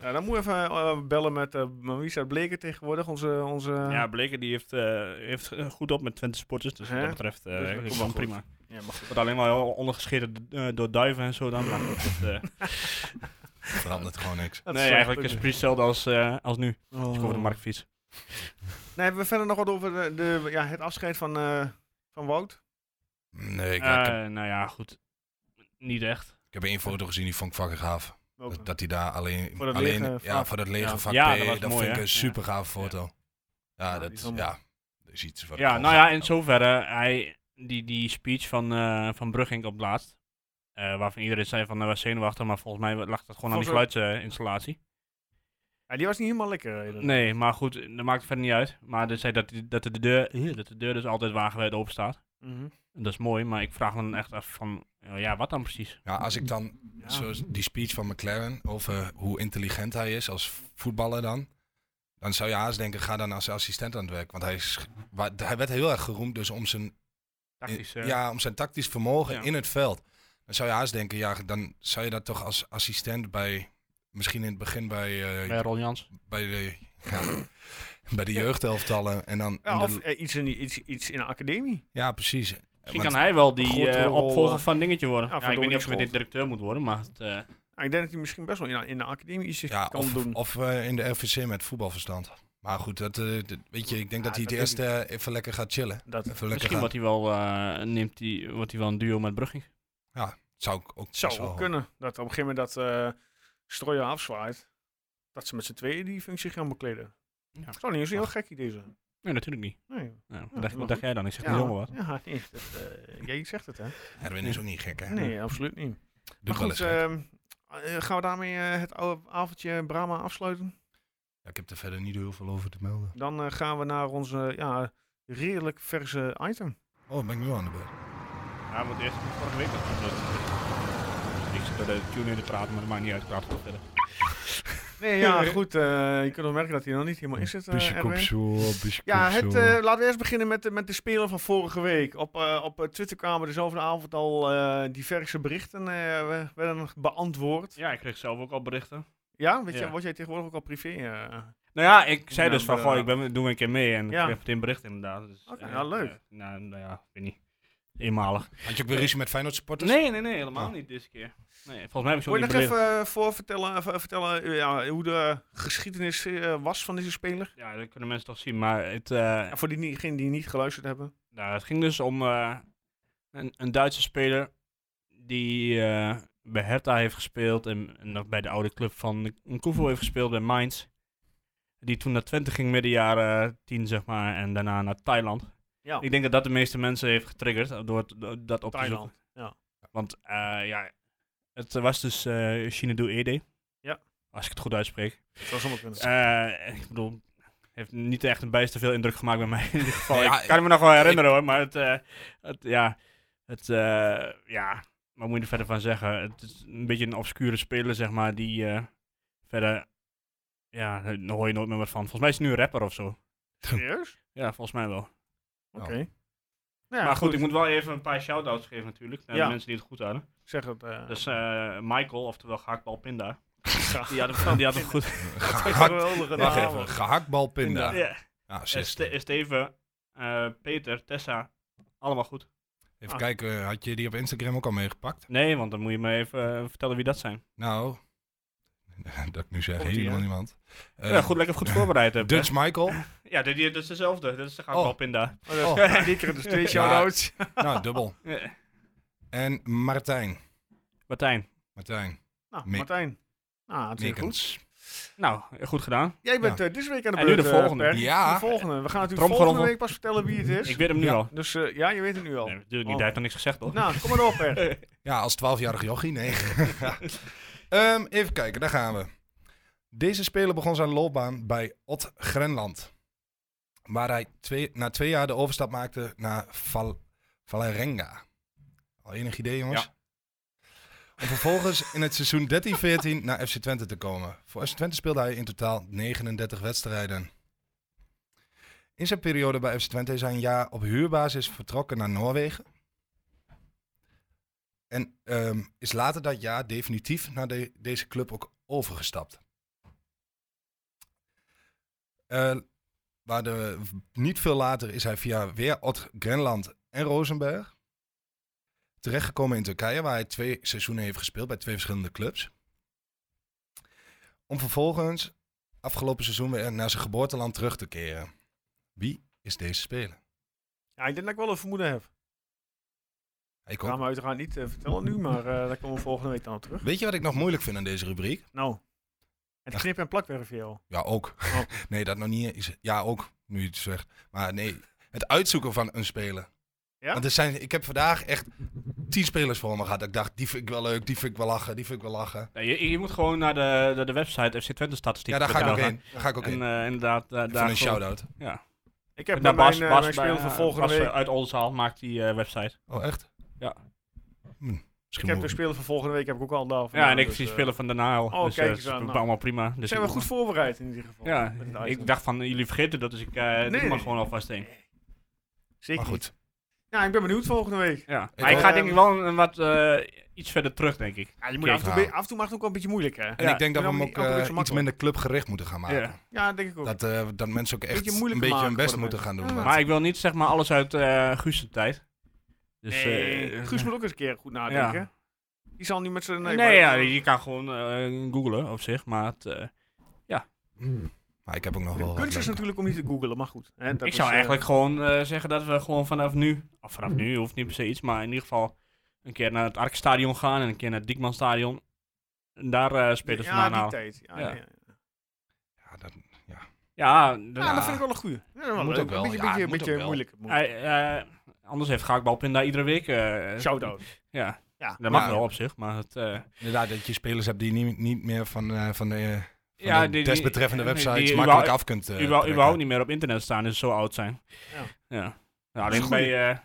Speaker 1: Nou, dan moet je even eh, bellen met eh wie is dat Bleker tegenwoordig, onze... onze
Speaker 4: Ja, Bleken die heeft, eh, heeft eh, goed op met Twente supporters. Dus wat
Speaker 1: Hè?
Speaker 4: dat betreft eh
Speaker 1: Dus dat
Speaker 4: is
Speaker 1: komt
Speaker 4: het
Speaker 1: wel
Speaker 4: gewoon
Speaker 1: goed.
Speaker 4: prima.
Speaker 1: Ja, maar goed.
Speaker 4: Wordt alleen maar ondergeschreven door duiven en zo dan. Maar goed, [LAUGHS] dat, eh,
Speaker 5: [LAUGHS] Verandert gewoon niks.
Speaker 1: Dat
Speaker 4: nee,
Speaker 1: zou
Speaker 4: eigenlijk is
Speaker 1: kunnen.
Speaker 4: het precies hetzelfde als, eh, als nu. Als
Speaker 1: Oh.
Speaker 4: ik over de markt fiets.
Speaker 1: Nee, hebben we verder nog wat over de, de- ja, het afscheid van, eh, van Wout?
Speaker 5: Nee, ik, ik, heb,
Speaker 4: Eh, nou ja, goed. Niet echt.
Speaker 5: ik heb één foto gezien die vond ik fucking gaaf.
Speaker 1: Welke?
Speaker 4: eh,
Speaker 5: Dat, dat hij daar alleen...
Speaker 1: Voor dat
Speaker 5: alleen
Speaker 1: lege
Speaker 5: ja,
Speaker 1: vak.
Speaker 5: voor dat lege
Speaker 1: Ja.
Speaker 5: vak
Speaker 4: Ja,
Speaker 5: P,
Speaker 4: dat was
Speaker 5: dat
Speaker 4: mooi,
Speaker 5: vind ik
Speaker 4: hè?
Speaker 5: een super gave foto. Ja,
Speaker 1: Ja, die is
Speaker 5: dat,
Speaker 1: wel mooi.
Speaker 5: ja, dat is iets wat ik
Speaker 4: Ja,
Speaker 5: gewoon
Speaker 4: nou ja,
Speaker 5: gaaf
Speaker 4: in
Speaker 5: vind.
Speaker 4: zoverre, hij, die, die speech van, eh van Brugging op het laatst, eh, waarvan iedereen zei van, hij was zenuwachtig, maar volgens mij lag dat gewoon aan die
Speaker 1: Volgens
Speaker 4: geluidsinstallatie.
Speaker 1: Ja, die was niet helemaal lekker. eh, dat-
Speaker 4: nee, maar goed, dat maakt verder niet uit. Maar hij zei dat, dat, de deur, dat de deur dus altijd wagenwijd open staat.
Speaker 1: Mhm.
Speaker 4: En dat is mooi, maar ik vraag me dan echt af van, eh, ja, wat dan precies?
Speaker 5: Ja, als ik dan
Speaker 1: Ja.
Speaker 5: zo die speech van McLaren over hoe intelligent hij is als voetballer dan, dan zou je haast denken, ga dan als assistent aan het werk. Want hij, is, wa- hij werd heel erg geroemd dus om zijn,
Speaker 4: Tactisch, eh,
Speaker 5: ja, om zijn tactisch vermogen
Speaker 4: Ja.
Speaker 5: in het veld. Dan zou je haast denken, ja, dan zou je dat toch als assistent bij, misschien in het begin bij, eh,
Speaker 4: bij Ron Jans.
Speaker 5: bij de, ja, bij de jeugdelftallen. En dan,
Speaker 1: Ja,
Speaker 5: in de-
Speaker 1: of eh, iets, in, die- iets, iets in de academie.
Speaker 5: ja, precies.
Speaker 4: Misschien
Speaker 5: Want-
Speaker 4: kan hij wel die
Speaker 1: grote
Speaker 4: eh,
Speaker 1: rol,
Speaker 4: opvolger
Speaker 1: eh,
Speaker 4: van dingetje worden.
Speaker 1: ja,
Speaker 4: Ja,
Speaker 1: van
Speaker 4: ik weet niet of hij
Speaker 1: Dominic's
Speaker 4: meteen directeur moet worden, maar het, eh,
Speaker 1: Ah, ik denk dat hij misschien best wel in, in de academie iets
Speaker 5: Ja,
Speaker 1: kan
Speaker 5: of,
Speaker 1: doen.
Speaker 5: of eh, in de RVC met voetbalverstand. Maar goed, dat, eh, dat- weet je, ik denk
Speaker 1: Ja,
Speaker 5: dat hij het
Speaker 1: dat
Speaker 5: eerst
Speaker 1: denk
Speaker 5: eh, even lekker gaat chillen.
Speaker 1: dat
Speaker 5: Even lekker
Speaker 4: misschien
Speaker 5: gaan.
Speaker 4: wordt hij wel, eh, neemt hij, wordt hij wel een duo met Brugging.
Speaker 5: Zou ik ook
Speaker 1: zou
Speaker 5: best wel-
Speaker 1: ook kunnen. Dat op een gegeven moment dat eh Strooijer afzwaait, dat ze met z'n tweeën die functie gaan bekleden.
Speaker 4: Ja.
Speaker 1: Zou niet eens een heel gek idee zijn.
Speaker 4: Nee, natuurlijk niet.
Speaker 1: Nee.
Speaker 4: Nou, wat,
Speaker 1: Ja,
Speaker 4: dacht,
Speaker 1: maar
Speaker 4: wat dacht jij dan? Ik zeg
Speaker 1: Ja,
Speaker 4: niet helemaal wat.
Speaker 1: Ja, [LAUGHS] nee, dat, eh, jij zegt het, hè?
Speaker 5: Erwin is ook niet gek, hè?
Speaker 1: Nee, absoluut niet. maar
Speaker 5: Doet wel eens
Speaker 1: goed,
Speaker 5: gek.
Speaker 1: ehm, eh, gaan we daarmee eh, het oude avondje Brahma afsluiten?
Speaker 5: Ja, ik heb er verder niet heel veel over te melden.
Speaker 1: Dan eh, gaan we naar onze ja, redelijk verse item.
Speaker 5: Oh, ben ik nu aan de beurt?
Speaker 4: Ja, want eerst vorige week dat Ik zit bij de tune in te praten, maar dat maakt niet uit. Ik praat toch verder.
Speaker 1: Nee,
Speaker 5: [LAUGHS]
Speaker 1: ja, goed. eh, je kunt wel merken dat hij er nog niet helemaal in zit. eh, Erwin. Ja, het, eh, laten we eerst beginnen met, de- met de speler van vorige week. Op, eh, op eh, Twitter kwamen dus over de avond al eh, diverse berichten eh, we- werden beantwoord.
Speaker 4: Ja, ik kreeg zelf ook al berichten.
Speaker 1: Ja, weet
Speaker 4: Ja.
Speaker 1: Je, word jij tegenwoordig ook al privé? eh?
Speaker 4: Nou ja, ik zei
Speaker 1: Ja,
Speaker 4: dus van,
Speaker 1: maar,
Speaker 4: goh,
Speaker 1: eh,
Speaker 4: ik ben, doe een keer mee en
Speaker 1: Ja.
Speaker 4: ik kreeg meteen berichten inderdaad. Dus,
Speaker 1: Oké,
Speaker 4: eh,
Speaker 1: ja, leuk.
Speaker 4: eh, nou, nou ja, ik weet niet. Eenmalig.
Speaker 5: Had je ook weer
Speaker 1: Eh,
Speaker 5: ruzie met Feyenoord supporters?
Speaker 4: Nee, nee, nee, helemaal
Speaker 5: Oh.
Speaker 4: niet deze keer. Nee, volgens mij heb ik zo
Speaker 1: Wil je
Speaker 4: niet
Speaker 1: nog
Speaker 4: beledigd.
Speaker 1: even eh, voor vertellen, ver- vertellen eh, ja, hoe de geschiedenis eh, was van deze speler?
Speaker 4: Ja, dat kunnen mensen toch zien, maar het, eh,
Speaker 1: Ja, voor diegenen die niet geluisterd hebben.
Speaker 4: Nou, het ging dus om eh, een, een Duitse speler die eh, bij Hertha heeft gespeeld en, en nog bij de oude club van Nkoufo heeft gespeeld bij Mainz. Die toen naar Twente ging midden jaren 10, zeg maar, en daarna naar Thailand.
Speaker 1: Ja,
Speaker 4: Ik denk dat dat de meeste mensen heeft getriggerd eh, door het- door dat op te
Speaker 1: Thailand,
Speaker 4: zoeken.
Speaker 1: ja.
Speaker 4: Want eh, ja, het was dus eh Shinadu Ede.
Speaker 1: Ja.
Speaker 4: Als ik het goed uitspreek.
Speaker 1: dat zou zomaar kunnen.
Speaker 4: Eh, ik bedoel, heeft niet echt een bijster veel indruk gemaakt bij mij [LAUGHS] in ieder geval.
Speaker 5: Ja,
Speaker 4: ik kan me nog wel herinneren hoor, maar het, eh, het ja, het, eh, ja, wat moet je er verder van zeggen? Het is een beetje een obscure speler, zeg maar, die eh, verder, ja, daar hoor je nooit meer wat van. Volgens mij is hij nu een rapper of zo.
Speaker 1: Serieus?
Speaker 4: Ja, volgens mij wel.
Speaker 1: Oké.
Speaker 5: Nou.
Speaker 1: Nou ja,
Speaker 4: maar goed, ik moet wel even een paar shout-outs geven natuurlijk, naar
Speaker 1: Ja.
Speaker 4: de mensen die het goed hadden.
Speaker 1: Zeg het. eh,
Speaker 4: Dus eh, Michael, oftewel Gehaktbal Pinda,
Speaker 1: graag. [LAUGHS]
Speaker 4: die had hem, die had [LAUGHS] hem goed...
Speaker 5: Gehakt,
Speaker 1: Geweldige
Speaker 5: wacht
Speaker 1: naam.
Speaker 5: even, gehaktbal pinda.
Speaker 4: Ja.
Speaker 5: Ja,
Speaker 4: Eh,
Speaker 5: zes.
Speaker 4: Ste- eh, Steven, eh, Peter, Tessa, allemaal goed.
Speaker 5: Even kijken, had je die op Instagram ook al meegepakt?
Speaker 4: Nee, want dan moet je me even eh, vertellen wie dat zijn.
Speaker 5: Nou, [LAUGHS] dat ik nu zeg,
Speaker 1: Komt-ie,
Speaker 5: helemaal
Speaker 1: hè?
Speaker 5: niemand. Eh,
Speaker 4: ja, goed, lekker goed voorbereid hebben.
Speaker 5: Dutch Michael.
Speaker 4: Ja, dit, dit is dezelfde. Dit is de
Speaker 5: Oh.
Speaker 4: Gaakbal Pinda.
Speaker 1: Oh, dat
Speaker 5: Oh.
Speaker 1: is dikker, dus twee shout-outs.
Speaker 5: nou, dubbel.
Speaker 4: Eh,
Speaker 5: En Martijn.
Speaker 4: Martijn.
Speaker 5: Martijn.
Speaker 1: Nou,
Speaker 5: Mik-
Speaker 1: Martijn. Nou, hartstikke goed.
Speaker 5: Mikens.
Speaker 4: Nou, eh, goed gedaan.
Speaker 1: Jij bent eh, deze week aan de
Speaker 4: En
Speaker 1: beurt.
Speaker 4: nu de
Speaker 1: eh,
Speaker 4: volgende.
Speaker 1: Per.
Speaker 5: Ja.
Speaker 1: De volgende. We gaan natuurlijk
Speaker 4: Tromgeroffel.
Speaker 1: volgende week pas vertellen wie het is.
Speaker 4: Ik weet hem nu
Speaker 5: Ja. Oh.
Speaker 4: al.
Speaker 1: Dus eh, ja, je weet het nu al.
Speaker 4: Nee, natuurlijk niet. Hij heeft nog niks gezegd, hoor.
Speaker 1: Nou, kom maar op, Per.
Speaker 5: Ja, als 12-jarig jochie, nee. [LAUGHS] Ehm, even kijken, daar gaan we. Deze speler begon zijn loopbaan bij Ot Grenland. Waar hij twee, na twee jaar de overstap maakte naar Val, Valerenga. Al enig idee, jongens? Om vervolgens in het seizoen 13-14 naar FC Twente te komen. Voor FC Twente speelde hij in totaal 39 wedstrijden. In zijn periode bij FC Twente is hij een jaar op huurbasis vertrokken naar Noorwegen. En ehm, is later dat jaar definitief naar de- deze club ook overgestapt. Eh, waar de, niet veel later is hij via weer Ot Grenland en Rosenberg terechtgekomen in Turkije, waar hij twee seizoenen heeft gespeeld bij twee verschillende clubs. Om vervolgens afgelopen seizoen weer naar zijn geboorteland terug te keren. Wie is deze speler?
Speaker 1: Ja, ik denk dat ik wel een vermoeden heb.
Speaker 5: Ik
Speaker 1: Ik ga
Speaker 5: ook.
Speaker 1: me uiteraard niet eh, vertellen nu, maar eh, daar komen we volgende week dan op terug.
Speaker 5: Weet je wat ik nog moeilijk vind aan deze rubriek?
Speaker 1: Nou, het
Speaker 5: Ja.
Speaker 1: knip- en plakwerven jou.
Speaker 5: Ja, ook.
Speaker 1: Oh.
Speaker 5: [LAUGHS] Nee, dat nog niet. Is, ja, ook, nu je het zegt. Maar nee, het uitzoeken van een speler.
Speaker 1: Ja?
Speaker 5: Want er zijn, ik heb vandaag echt tien spelers voor me gehad. dat Ik dacht, die vind ik wel leuk, die vind ik wel lachen, die vind ik wel lachen.
Speaker 4: Nee, je, je moet gewoon naar de, de, de website FC Twente
Speaker 5: Ja,
Speaker 4: statistieken.
Speaker 5: daar ga ik ook heen. Daar ga ik ook
Speaker 4: En
Speaker 5: heen.
Speaker 4: eh, inderdaad, daar
Speaker 5: Van
Speaker 4: daar
Speaker 5: een
Speaker 4: gewoon-
Speaker 5: shout-out.
Speaker 4: Ja.
Speaker 1: Ik heb
Speaker 4: En
Speaker 1: naar
Speaker 4: dan
Speaker 1: mijn,
Speaker 4: Nou, Bas,
Speaker 1: eh,
Speaker 4: Bas
Speaker 1: mijn speler
Speaker 4: bij-
Speaker 1: van volgende
Speaker 4: Bas, eh,
Speaker 1: week.
Speaker 4: uit Oldenzaal maakt die eh, website.
Speaker 5: Oh, echt?
Speaker 4: Ja.
Speaker 5: Hm,
Speaker 1: Ik heb dus
Speaker 5: misschien moet-
Speaker 1: de speler van volgende week heb ik ook al daar.
Speaker 4: Ja, en ik zie spelen van daarna al.
Speaker 1: dus, oh,
Speaker 4: dus
Speaker 1: kijk
Speaker 4: eh,
Speaker 1: eens
Speaker 4: dat is
Speaker 1: aan, nou.
Speaker 4: allemaal prima. Dus
Speaker 1: Zijn we
Speaker 4: ik-
Speaker 1: goed Oh, voorbereid in ieder geval?
Speaker 4: Ja,
Speaker 1: met het
Speaker 4: ik
Speaker 1: item.
Speaker 4: dachten van, jullie vergeten dat, dus ik eh
Speaker 1: nee,
Speaker 4: doe maar
Speaker 1: nee.
Speaker 4: gewoon alvast één.
Speaker 1: Zeker.
Speaker 5: Maar
Speaker 1: goed.
Speaker 5: goed.
Speaker 1: Ja, ik ben benieuwd volgende week.
Speaker 4: Ja.
Speaker 5: Ik
Speaker 4: Maar ik
Speaker 5: ook.
Speaker 4: ga denk ik wel een, een wat eh, iets verder terug, denk ik.
Speaker 1: Ja, je moet
Speaker 4: Oké,
Speaker 1: af, en toe,
Speaker 5: verhaal.
Speaker 1: be- af en toe mag het ook wel een beetje moeilijk, hè?
Speaker 5: En
Speaker 4: Ja,
Speaker 5: ik denk dat we
Speaker 1: ik
Speaker 5: hem
Speaker 1: ben
Speaker 5: ook
Speaker 1: ook niet- ook
Speaker 5: eh,
Speaker 1: niet zo
Speaker 5: iets minder clubgericht moeten gaan maken.
Speaker 4: Ja.
Speaker 1: Ja, denk ik ook.
Speaker 5: Dat, eh, dat mensen ook echt
Speaker 1: Beetje
Speaker 5: een
Speaker 1: moeilijker
Speaker 5: beetje hun
Speaker 1: maken
Speaker 5: best
Speaker 1: voor de
Speaker 5: moeten gaan doen.
Speaker 1: mensen.
Speaker 5: want-
Speaker 4: Maar ik wil niet zeg maar alles uit eh Guus' zijn tijd. Dus,
Speaker 1: nee,
Speaker 4: eh,
Speaker 1: Guus moet ook eens een keer goed nadenken. Die zal niet met zijn...
Speaker 4: Nee,
Speaker 1: maar-
Speaker 4: ja, je kan gewoon eh googlen op zich, maar het, eh,
Speaker 5: Hm. Maar ik heb ook nog wel
Speaker 1: De
Speaker 5: Oh, wat
Speaker 1: kunst is
Speaker 5: leuke.
Speaker 1: natuurlijk om niet te googlen, maar goed. Hè, dat
Speaker 4: ik
Speaker 1: is,
Speaker 4: zou
Speaker 1: eh,
Speaker 4: eigenlijk gewoon eh, zeggen dat we gewoon vanaf nu, of vanaf nu hoeft niet per se iets, maar in ieder geval een keer naar het Arkstadion gaan en een keer naar het Diekmanstadion. En daar eh spelers
Speaker 1: Ja,
Speaker 4: vandaan
Speaker 1: die
Speaker 4: halen.
Speaker 1: tijd. Ja,
Speaker 4: Ja.
Speaker 1: ja, ja.
Speaker 5: Ja, dat
Speaker 4: Ja,
Speaker 1: Ja,
Speaker 4: daarna-
Speaker 1: dat vind ik wel een goeie. Ja, dat
Speaker 5: Moet
Speaker 1: leuk.
Speaker 5: ook wel,
Speaker 1: Een beetje,
Speaker 5: ja,
Speaker 1: beetje,
Speaker 5: moet ook
Speaker 1: beetje
Speaker 5: wel.
Speaker 1: moeilijk. Moet-
Speaker 4: Hij, eh, anders heeft Gaakbalpin daar iedere week. eh,
Speaker 1: Shout-out.
Speaker 4: Ja.
Speaker 1: Ja.
Speaker 4: dat mag
Speaker 5: Ja.
Speaker 4: wel op zich, maar het. eh,
Speaker 5: Inderdaad, dat je spelers hebt die niet, niet meer van, eh, van de, eh, van
Speaker 4: Ja,
Speaker 5: de
Speaker 4: die- die-
Speaker 5: desbetreffende
Speaker 4: die-
Speaker 5: websites
Speaker 4: die
Speaker 5: makkelijk
Speaker 4: überhaupt-
Speaker 5: af kunt eh,
Speaker 4: überhaupt,
Speaker 5: trekken.
Speaker 4: überhaupt niet meer op internet staan, dus zo oud zijn.
Speaker 1: Ja.
Speaker 4: ja. Nou,
Speaker 1: Dat is
Speaker 4: alleen
Speaker 1: een
Speaker 4: bij
Speaker 1: goeie.
Speaker 4: eh,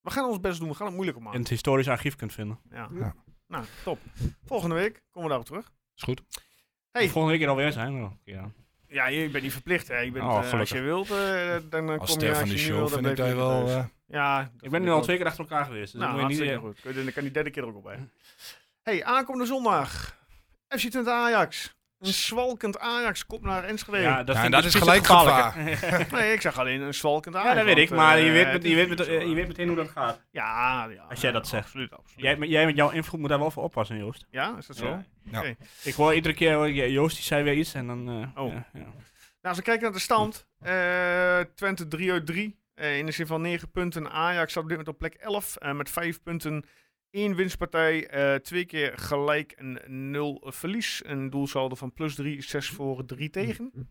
Speaker 1: We gaan ons best doen, we gaan het moeilijker
Speaker 4: in
Speaker 1: maken.
Speaker 4: het historisch archief kunt vinden.
Speaker 1: Ja.
Speaker 5: Ja.
Speaker 1: Nou, top. Volgende week komen we daarop terug.
Speaker 5: Is goed.
Speaker 1: Hey.
Speaker 4: Volgende week er alweer zijn. maar- Ja.
Speaker 1: Ja, je bent niet verplicht. Hè. Je bent,
Speaker 4: Oh,
Speaker 1: eh, als
Speaker 4: gelukkig.
Speaker 1: je wilt, eh, dan eh,
Speaker 5: Als
Speaker 1: kom je.
Speaker 5: ster
Speaker 1: Als
Speaker 5: van
Speaker 1: je niet
Speaker 5: de show
Speaker 1: wilt, dan
Speaker 5: vind ik
Speaker 1: blijf
Speaker 5: daar
Speaker 1: je
Speaker 5: wel...
Speaker 4: dus-
Speaker 1: thuis.
Speaker 5: eh,
Speaker 1: Ja, dat
Speaker 4: Ik
Speaker 1: vind
Speaker 4: ben nu al
Speaker 1: ook.
Speaker 4: twee keer achter elkaar geweest. Dus
Speaker 1: nou,
Speaker 4: dan moet je
Speaker 1: hartstikke
Speaker 4: niet.
Speaker 1: goed. Kun je- Dan kan die derde keer er ook op bij. Hey, aankomende zondag. FC Twente Ajax. Een zwalkend Ajax komt naar Enschede.
Speaker 4: ja, dat, vind
Speaker 5: Ja, en
Speaker 4: ik
Speaker 5: dat
Speaker 4: dus
Speaker 5: is
Speaker 4: precies
Speaker 5: gelijk
Speaker 4: het gevaarlijke. [LAUGHS]
Speaker 5: gevaar.
Speaker 1: Nee, ik zeg alleen een zwalkend Ajax.
Speaker 4: Ja, dat weet ik,
Speaker 1: want,
Speaker 4: maar je
Speaker 1: eh,
Speaker 4: weet,
Speaker 1: het
Speaker 4: met,
Speaker 1: is
Speaker 4: je, weet
Speaker 1: niet
Speaker 4: met-
Speaker 1: zo,
Speaker 4: eh, je
Speaker 1: eh,
Speaker 4: weet meteen hoe dat gaat.
Speaker 1: Ja, ja.
Speaker 4: Als jij dat zegt.
Speaker 1: Absoluut, absoluut.
Speaker 4: Jij, met- jij met jouw invloed moet daar wel voor oppassen, Joost.
Speaker 1: Ja, is dat zo?
Speaker 4: Ja.
Speaker 5: Ja.
Speaker 1: Oké.
Speaker 4: Ik hoor iedere keer, hoor ik, ja, Joost die zei weer iets en dan... eh,
Speaker 1: Oh.
Speaker 4: ja, ja.
Speaker 1: Nou, als we kijken naar de stand. eh, Twente 3 uit 3. eh, in de zin van 9 punten. Ajax staat op dit moment op plek 11. eh, met 5 punten. 1 winstpartij. eh, twee keer gelijk en 0 verlies. Een doelsaldo van plus 3, 6 voor 3 tegen.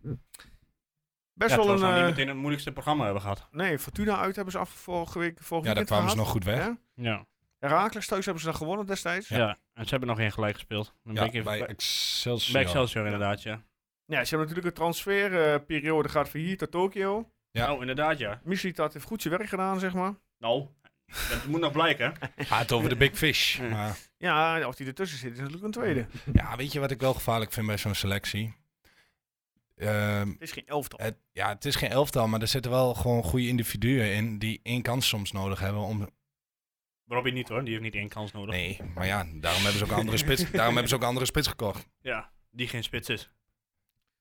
Speaker 1: Best
Speaker 4: Ja,
Speaker 1: wel
Speaker 4: terwijl
Speaker 1: een.
Speaker 4: ze nou
Speaker 1: eh,
Speaker 4: niet meteen het moeilijkste programma hebben gehad.
Speaker 1: nee, Fortuna uit hebben ze af vorige week. Vorige
Speaker 5: Ja, daar
Speaker 1: weekend
Speaker 5: kwamen ze
Speaker 1: gehad.
Speaker 5: nog goed weg.
Speaker 1: Ja.
Speaker 4: Ja.
Speaker 1: Heracles thuis hebben ze dan gewonnen destijds.
Speaker 4: Ja. en ze hebben nog geen gelijk gespeeld. Dan ben
Speaker 5: Ja,
Speaker 4: ik even
Speaker 5: bij
Speaker 4: bij,
Speaker 5: Excelsior.
Speaker 4: bij Excelsior inderdaad, ja.
Speaker 1: Ja, ze hebben natuurlijk een transferperiode gehad van hier tot Tokio.
Speaker 5: Ja.
Speaker 4: Oh, inderdaad, ja.
Speaker 1: Mislitat heeft goed zijn werk gedaan, zeg maar.
Speaker 4: Nou, dat moet nog blijken.
Speaker 5: Ah, het over de big fish. Maar,
Speaker 1: Ja, of die ertussen zit, is natuurlijk een tweede.
Speaker 5: ja, weet je wat ik wel gevaarlijk vind bij zo'n selectie? Ehm,
Speaker 1: Het is geen elftal.
Speaker 5: het, ja, het is geen elftal, maar er zitten wel gewoon goede individuen in die één kans soms nodig hebben om...
Speaker 4: Robbie niet hoor, die heeft niet één kans nodig.
Speaker 5: Nee, maar ja, daarom hebben ze ook een andere
Speaker 4: [LAUGHS]
Speaker 5: spits, daarom hebben ze ook een andere spits gekocht.
Speaker 4: Ja, die geen spits is.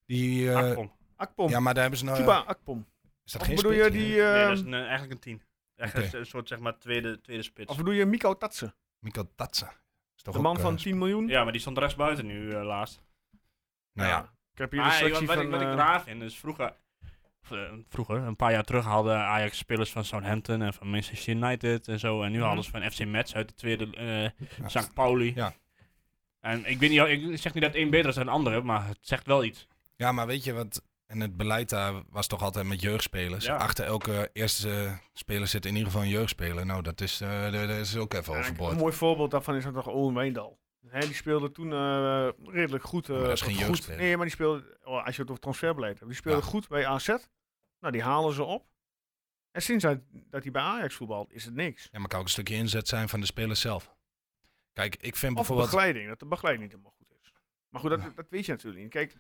Speaker 5: Die, eh,
Speaker 4: Ach, Ah, kom.
Speaker 1: Akpom.
Speaker 5: ja, maar daar hebben ze nou...
Speaker 1: Cuba Akpom.
Speaker 5: Is dat
Speaker 1: Of
Speaker 5: geen
Speaker 1: bedoel
Speaker 5: spits?
Speaker 1: je die...
Speaker 4: nee, dat
Speaker 1: eh
Speaker 4: is een, eh, eigenlijk een tien. Echt
Speaker 5: Oké.
Speaker 4: een, een soort zeg maar tweede, tweede spits.
Speaker 1: Of bedoel je Miko Tatsen?
Speaker 5: Mikkel Tatsa. Is toch
Speaker 1: De man
Speaker 5: ook,
Speaker 1: van
Speaker 5: eh,
Speaker 1: 10 miljoen?
Speaker 4: Ja, maar die stond rechts buiten nu eh, laatst.
Speaker 5: nou ja,
Speaker 1: Ik heb hier een
Speaker 4: Maar eh, wat,
Speaker 1: selectie
Speaker 4: wat
Speaker 1: van...
Speaker 4: ik, wat ik
Speaker 1: eh,
Speaker 4: raar vind is vroeger, of, eh, vroeger, een paar jaar terug hadden Ajax spelers van Southampton en van Manchester United en zo. En nu hadden ze van FC Metz uit de tweede eh
Speaker 5: Mhm. ja.
Speaker 4: St. Pauli.
Speaker 5: Ja.
Speaker 4: En ik, weet niet, ik zeg niet dat één beter is dan de andere, maar het zegt wel iets.
Speaker 5: Ja, maar weet je wat? En het beleid daar was toch altijd met jeugdspelers.
Speaker 4: Ja.
Speaker 5: Achter elke eerste eh, speler zit in ieder geval een jeugdspeler. Nou, dat is, eh, dat is ook even
Speaker 1: ja,
Speaker 5: overboord.
Speaker 1: Een mooi voorbeeld daarvan is ook nog Owen Wijndal. Hè, die speelde toen eh, redelijk goed. eh,
Speaker 5: Maar dat is geen
Speaker 1: goed.
Speaker 5: jeugdspeler.
Speaker 1: Nee, maar die speelde, oh, als je het over transferbeleid hebt, die speelde
Speaker 5: Ja.
Speaker 1: goed bij AZ. Nou, die halen ze op. En sinds hij, dat hij bij Ajax voetbalt, is het niks.
Speaker 5: Ja, maar kan ook een stukje inzet zijn van de speler zelf. Kijk, ik vind
Speaker 1: Of
Speaker 5: bijvoorbeeld...
Speaker 1: begeleiding, dat de begeleiding niet helemaal goed is. Maar goed, dat, dat weet je natuurlijk niet. Kijk,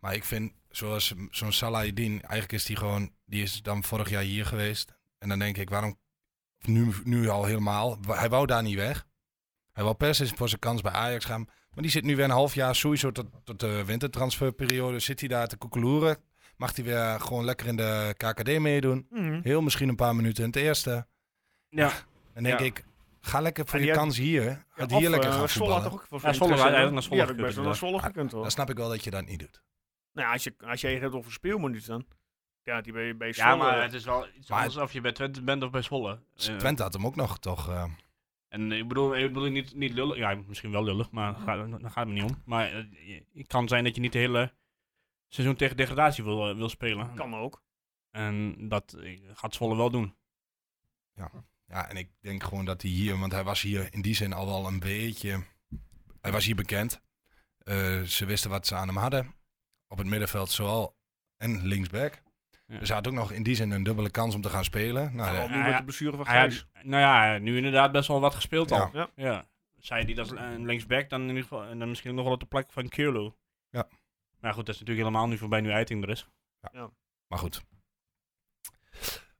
Speaker 5: Maar ik vind, zoals zo'n Salahidin, eigenlijk is die gewoon, die is dan vorig jaar hier geweest. En dan denk ik, waarom nu, nu al helemaal? Wa- Hij wou daar niet weg. Hij wou per se voor zijn kans bij Ajax gaan. Maar die zit nu weer een half jaar sowieso tot, tot de wintertransferperiode. Zit hij daar te koekeloeren? Mag hij weer gewoon lekker in de KKD meedoen?
Speaker 1: Mhm.
Speaker 5: Heel misschien een paar minuten in het eerste.
Speaker 4: Ja.
Speaker 5: Dan denk
Speaker 1: Ja.
Speaker 5: ik, ga lekker voor
Speaker 1: En
Speaker 5: je
Speaker 1: die
Speaker 5: kans hier. Ga hier
Speaker 1: Of, eh,
Speaker 5: lekker gaan
Speaker 1: Zwolle had
Speaker 5: voetballen.
Speaker 1: toch ook voor
Speaker 4: eh, Ja, Zwolle had eigenlijk naar Zwolle
Speaker 1: Ja, dat best wel
Speaker 4: gekund,
Speaker 1: naar Zwolle gekund hoor.
Speaker 5: Dan snap ik wel dat je dat niet doet.
Speaker 1: Nou, ja, als je, als je het hebt over speelminuten dan. Ja, die bij, bij Zwolle.
Speaker 4: Ja, maar het is wel iets
Speaker 5: Maar-
Speaker 4: anders of je bij Twente bent of bij Zwolle. Eh,
Speaker 5: Twente had hem ook nog toch... eh,
Speaker 4: En ik bedoel, ik bedoel niet, niet lullig. Ja, misschien wel lullig, maar daar gaat- daar gaat het me niet om. Maar eh, je- het kan zijn dat je niet het hele seizoen tegen degradatie wil, eh, wil spelen.
Speaker 1: Kan ook.
Speaker 4: En dat eh, gaat Zwolle wel doen.
Speaker 5: Ja, en ik denk gewoon dat hij hier, want hij was hier in die zin al wel een beetje. Hij was hier bekend. Eh, ze wisten wat ze aan hem hadden. Op het middenveld zowel en linksback.
Speaker 4: Ja.
Speaker 5: Dus hij had ook nog in die zin een dubbele kans om te gaan spelen. Nou,
Speaker 1: Al
Speaker 5: ja,
Speaker 1: nu
Speaker 4: Ah,
Speaker 1: met
Speaker 4: ja.
Speaker 1: de blessure van
Speaker 4: Hij had-
Speaker 1: Gijs.
Speaker 4: nou ja, nu inderdaad best wel wat gespeeld al.
Speaker 5: Ja.
Speaker 1: Ja.
Speaker 4: ja. Zij die dat eh, linksback, dan in ieder geval en dan misschien nog wel op de plek van Kierlo.
Speaker 5: Ja.
Speaker 4: Maar goed, dat is natuurlijk helemaal nu voorbij nu uiting er is.
Speaker 5: maar goed.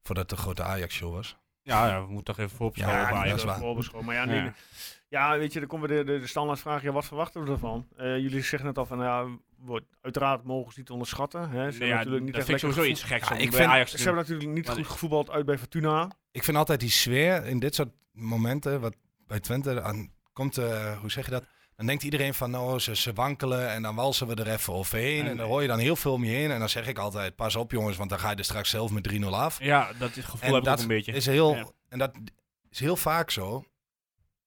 Speaker 5: Voordat het de grote Ajax-show was.
Speaker 4: Ja, ja, we moeten toch even voorop
Speaker 5: Ja,
Speaker 4: staan op
Speaker 5: dat
Speaker 1: Ja,
Speaker 5: is
Speaker 4: Ajax.
Speaker 1: dat
Speaker 5: waar.
Speaker 1: voorbeschouwing. Maar ja, nee,
Speaker 4: Ja.
Speaker 1: ja, weet je, dan komt weer de, de, de standaardvraag. Ja, wat verwachten we ervan? Eh, jullie zeggen het al van, ja, wordt, uiteraard mogen ze niet onderschatten. Hè. Ze,
Speaker 4: Nee,
Speaker 1: hebben
Speaker 4: ja,
Speaker 1: natuurlijk niet
Speaker 4: dat
Speaker 1: echt
Speaker 4: vind ik
Speaker 1: lekker
Speaker 4: sowieso iets
Speaker 1: gevoet-
Speaker 4: geks.
Speaker 5: Ja,
Speaker 4: om
Speaker 5: ik
Speaker 4: bij
Speaker 5: vind-
Speaker 4: Ajax te
Speaker 1: Ze
Speaker 4: doen.
Speaker 1: hebben natuurlijk niet
Speaker 4: Want-
Speaker 1: goed gevoetbald uit bij Fortuna.
Speaker 5: Ik vind altijd die sfeer in dit soort momenten, wat bij Twente aan komt, eh, hoe zeg je dat? Dan denkt iedereen van, nou, ze, ze wankelen en dan walsen we er even overheen.
Speaker 4: En-
Speaker 5: En, dan hoor je dan heel veel om je heen. En dan zeg ik altijd, pas op jongens, want dan ga je er straks zelf met 3-0 af.
Speaker 4: Ja, dat is gevoel heb ik ook een beetje.
Speaker 5: Is heel,
Speaker 4: Ja.
Speaker 5: En dat is heel vaak zo.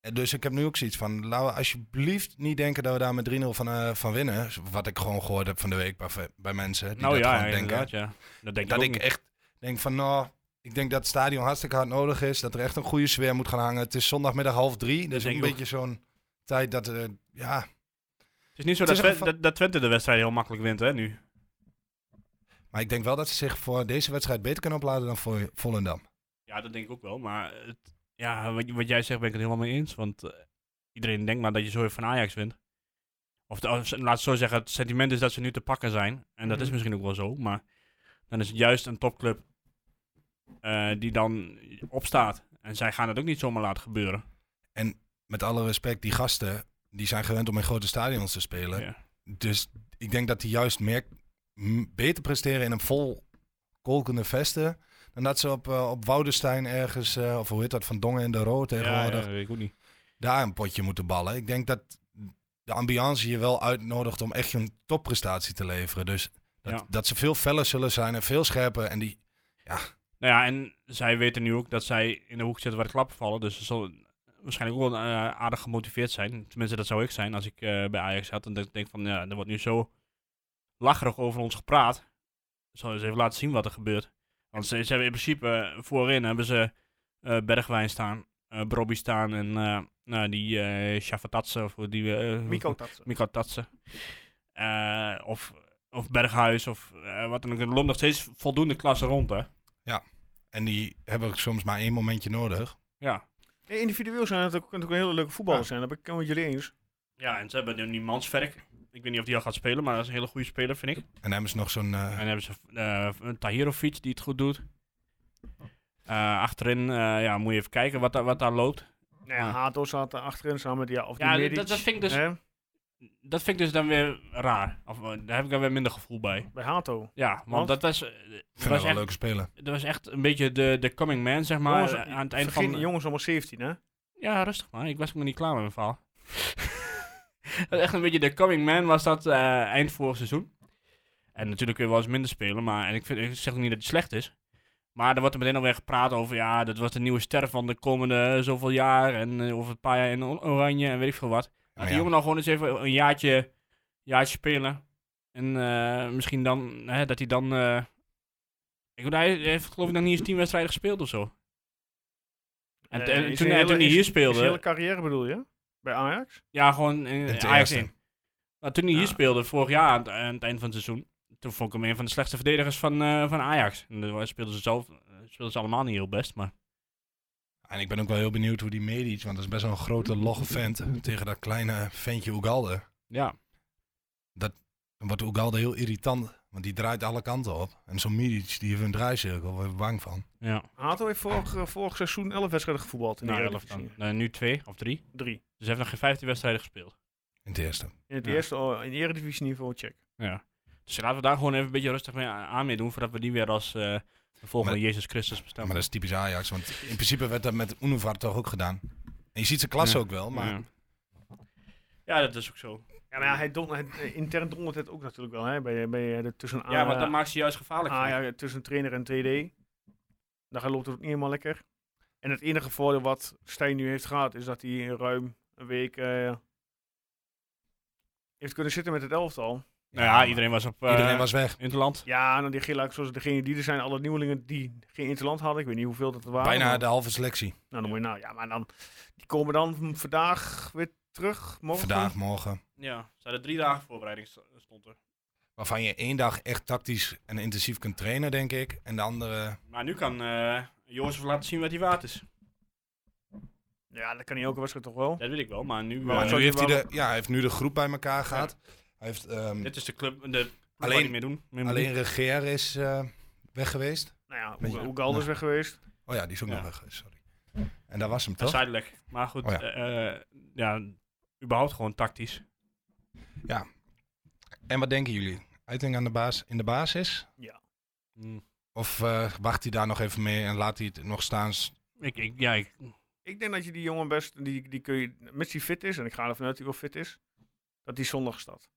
Speaker 5: En dus ik heb nu ook zoiets van, laten we alsjeblieft niet denken dat we daar met 3-0 van, eh, van winnen. Wat ik gewoon gehoord heb van de week bij, bij mensen die
Speaker 4: nou
Speaker 5: dat
Speaker 4: ja,
Speaker 5: gewoon denken.
Speaker 4: inderdaad, ja. Dat denk
Speaker 5: dat
Speaker 4: ik
Speaker 5: ik
Speaker 4: ook niet.
Speaker 5: echt denk van, nou, ik denk dat het stadion hartstikke hard nodig is. Dat er echt een goede sfeer moet gaan hangen. Het is zondagmiddag half drie. Dus
Speaker 4: denk
Speaker 5: een
Speaker 4: ik ook.
Speaker 5: beetje zo'n tijd dat, eh, ja...
Speaker 4: Het is niet zo
Speaker 5: Het
Speaker 4: dat,
Speaker 5: is
Speaker 4: Twen-
Speaker 5: een geval-
Speaker 4: dat, dat Twente de wedstrijd heel makkelijk wint, hè, nu.
Speaker 5: Maar ik denk wel dat ze zich voor deze wedstrijd beter kunnen opladen dan voor Volendam.
Speaker 4: Ja, dat denk ik ook wel. Maar het, ja, wat, wat jij zegt ben ik het helemaal mee eens. Want eh, iedereen denkt maar dat je zo even van Ajax wint. Of de- of ze- laat het zo zeggen, het sentiment is dat ze nu te pakken zijn. En dat is
Speaker 1: Mhm.
Speaker 4: misschien ook wel zo. Maar dan is het juist een topclub eh, die dan opstaat. En zij gaan het ook niet zomaar laten gebeuren.
Speaker 5: Met alle respect, die gasten, die zijn gewend om in grote stadions te spelen.
Speaker 4: Ja.
Speaker 5: Dus ik denk dat die juist meer, m- beter presteren in een vol kolkende vesten. Dan dat ze op, eh, op Woudenstein ergens, eh, of hoe heet dat, van Dongen in de Roo tegenwoordig,
Speaker 4: Ja, ja, weet ik ook niet.
Speaker 5: daar een potje moeten ballen. Ik denk dat de ambiance je wel uitnodigt om echt een topprestatie te leveren. Dus dat,
Speaker 4: Ja.
Speaker 5: dat ze veel feller zullen zijn en veel scherper. En die,
Speaker 4: Nou ja, en zij weten nu ook dat zij in de hoek zitten waar de klappen vallen. Dus ze zullen waarschijnlijk ook wel eh, aardig gemotiveerd zijn. Tenminste, dat zou ik zijn als ik eh, bij Ajax zat. En dat ik denk van, ja, er wordt nu zo lacherig over ons gepraat. Zal eens even laten zien wat er gebeurt. Want ze, ze hebben in principe eh, voorin hebben ze eh, Bergwijn staan, eh Brobby staan en eh, nou, die eh Shafatatse. Of hoe die, eh,
Speaker 1: Miko Tatsen.
Speaker 4: Mika Tatsen. Eh, of, of Berghuis of eh, wat dan ook. Er loopt nog steeds voldoende klasse rond, hè.
Speaker 5: en die hebben soms maar één momentje nodig.
Speaker 4: Ja.
Speaker 1: Nee, individueel zijn het ook, kunnen het ook hele leuke voetballers zijn. Dat ben ik helemaal met jullie eens.
Speaker 4: Ja, en ze hebben nu die Mansverk. Ik weet niet of die al gaat spelen, maar dat is een hele goede speler, vind ik.
Speaker 5: En dan hebben ze nog zo'n... eh,
Speaker 4: En dan hebben ze eh een Tahirovic die het goed doet. Eh, achterin eh, ja, moet je even kijken wat, daar- wat daar loopt.
Speaker 1: Nee, ja.
Speaker 4: Ja.
Speaker 1: Hato zat daar achterin samen met die, of die
Speaker 4: Ja,
Speaker 1: Medic,
Speaker 4: dat, dat, vind ik dus,
Speaker 1: hè,
Speaker 4: dat vind ik dus dan weer raar. Of, eh, daar heb ik dan weer minder gevoel bij.
Speaker 1: bij Hato.
Speaker 4: Ja, want,
Speaker 1: Want?
Speaker 4: dat was, eh,
Speaker 5: ik
Speaker 4: dat,
Speaker 5: vind dat
Speaker 4: was
Speaker 5: wel
Speaker 4: echt,
Speaker 5: leuke spelen.
Speaker 4: dat was echt een beetje de, de coming man, zeg maar.
Speaker 1: Jongens,
Speaker 4: eh, aan het eind
Speaker 1: vergeet
Speaker 4: van...
Speaker 1: die jongens allemaal 17, hè?
Speaker 4: Ja, rustig maar. Ik was nog niet klaar met
Speaker 1: [LAUGHS]
Speaker 4: mijn verhaal. Dat echt een beetje de coming man was dat eh, eind vorig seizoen. En natuurlijk kun je wel eens minder spelen, maar en ik, vind, ik zeg ook niet dat het slecht is. Maar er wordt er meteen alweer gepraat over, ja, dat wordt de nieuwe ster van de komende zoveel jaar. En eh, over een paar jaar in or- oranje en weet ik veel
Speaker 1: Oh,
Speaker 4: wat. Laat die
Speaker 5: ja.
Speaker 4: jongen nou gewoon eens even een jaartje, jaartje spelen. En eh, misschien dan, hè, dat hij dan... eh, ik bedoel, hij heeft geloof ik nog niet eens tien wedstrijden gespeeld of zo. En,
Speaker 1: Eh,
Speaker 4: en
Speaker 1: is
Speaker 4: toen,
Speaker 1: een
Speaker 4: hij-
Speaker 1: hele-
Speaker 4: toen hij
Speaker 1: is-
Speaker 4: hier
Speaker 1: Zijn
Speaker 4: speelde...
Speaker 1: hele carrière bedoel je? Bij Ajax?
Speaker 4: Ja, gewoon
Speaker 5: In
Speaker 4: in
Speaker 5: het
Speaker 4: Ajax
Speaker 5: eerste.
Speaker 4: in. Maar toen hij hier
Speaker 1: Ja.
Speaker 4: speelde, vorig jaar aan het, aan het eind van het seizoen, toen vond ik hem een van de slechtste verdedigers van, eh, van Ajax. En dan speelden ze, zelf, eh, speelden ze allemaal niet heel best, maar...
Speaker 5: En ik ben ook wel heel benieuwd hoe die Medic, want dat is best wel een [LAUGHS] grote logge vent tegen dat kleine ventje Ugalde.
Speaker 4: Ja.
Speaker 5: Dan wordt Ugalde heel irritant, want die draait alle kanten op. En zo'n Midic, die heeft een draaicirkel, daar ben ik bang van.
Speaker 4: Ja,
Speaker 1: Hato heeft vorig, eh, vorig seizoen 11 wedstrijden gevoetbald. In de
Speaker 4: nou, elf
Speaker 1: Eredivisie.
Speaker 4: dan. Eh, nu twee of drie.
Speaker 1: Drie.
Speaker 4: Dus hij heeft nog geen 15 wedstrijden gespeeld.
Speaker 5: In het eerste.
Speaker 1: In het
Speaker 4: Ja.
Speaker 1: eerste, oh, in eredivisie niveau, check.
Speaker 4: Ja. Dus laten we daar gewoon even een beetje rustig mee aan aan mee doen, voordat we die weer als eh, de volgende
Speaker 5: Maar-
Speaker 4: Jezus Christus bestaan.
Speaker 5: maar dat is typisch Ajax, want in principe werd dat met Unuvar toch ook gedaan. En je ziet zijn klasse
Speaker 4: Ja.
Speaker 5: ook wel, maar
Speaker 4: ja. ja, dat is ook zo.
Speaker 1: Ja, maar ja, hij don, het, eh, intern dondert het ook natuurlijk wel, hè? Bij, bij eh, de, tussen A,
Speaker 4: Ah, Ja, Ah, maar dat maakt ze juist gevaarlijk.
Speaker 1: A,
Speaker 4: vind ik.
Speaker 1: ja, tussen trainer en 2D. Dan gaat- loopt het ook niet helemaal lekker. En het enige voordeel wat Stijn nu heeft gehad, is dat hij in ruim een week eh, heeft kunnen zitten met het elftal.
Speaker 4: Nou ja, iedereen was op eh
Speaker 5: iedereen was weg.
Speaker 4: in het land.
Speaker 1: Ja, en dan die gele, zoals degene die er zijn, alle nieuwelingen die geen interland hadden. Ik weet niet hoeveel dat er waren.
Speaker 5: Bijna
Speaker 1: maar-
Speaker 5: de halve selectie.
Speaker 1: Nou, dan moet je nou, ja, maar dan, die komen dan vandaag weer terug, morgen.
Speaker 5: Vandaag, morgen.
Speaker 4: Ja, ze hadden drie dagen voorbereiding st- stond er.
Speaker 5: Waarvan je één dag echt tactisch en intensief kunt trainen, denk ik. En de andere...
Speaker 4: Maar nu kan eh Jozef laten zien wat hij waard is.
Speaker 1: Ja, dat kan hij elke wedstrijd toch wel.
Speaker 4: Dat weet ik wel, maar nu...
Speaker 1: Maar
Speaker 4: eh,
Speaker 1: het
Speaker 5: nu
Speaker 1: zou-
Speaker 5: heeft hij, de, ja, hij heeft nu de groep bij elkaar gehad. Hij heeft, ehm,
Speaker 4: dit is de club, de club waar
Speaker 5: Alleen-
Speaker 4: hij mee doen. mee moet
Speaker 5: alleen Regeer is eh, weg geweest.
Speaker 1: Nou
Speaker 5: Weet
Speaker 1: ja,
Speaker 5: je-
Speaker 1: hoe Galders
Speaker 5: nou.
Speaker 1: weg geweest.
Speaker 5: Oh ja, die is ook
Speaker 4: Ja.
Speaker 5: nog weg geweest, sorry. En daar was hem
Speaker 4: doen.
Speaker 5: toch?
Speaker 4: Zijdelijk. Maar goed,
Speaker 5: Oh ja.
Speaker 4: eh, eh, ja, überhaupt gewoon tactisch.
Speaker 5: En wat denken jullie? Uiting aan de baas in de basis?
Speaker 4: Mm.
Speaker 5: Of eh, wacht hij daar nog even mee en laat hij het nog staan? s-
Speaker 4: Ik, ik, ja, ik,
Speaker 1: Ik denk dat je die jongen best, die, die kun je, mits hij fit is, en ik ga ervan uit dat hij wel fit is, dat hij zondag staat.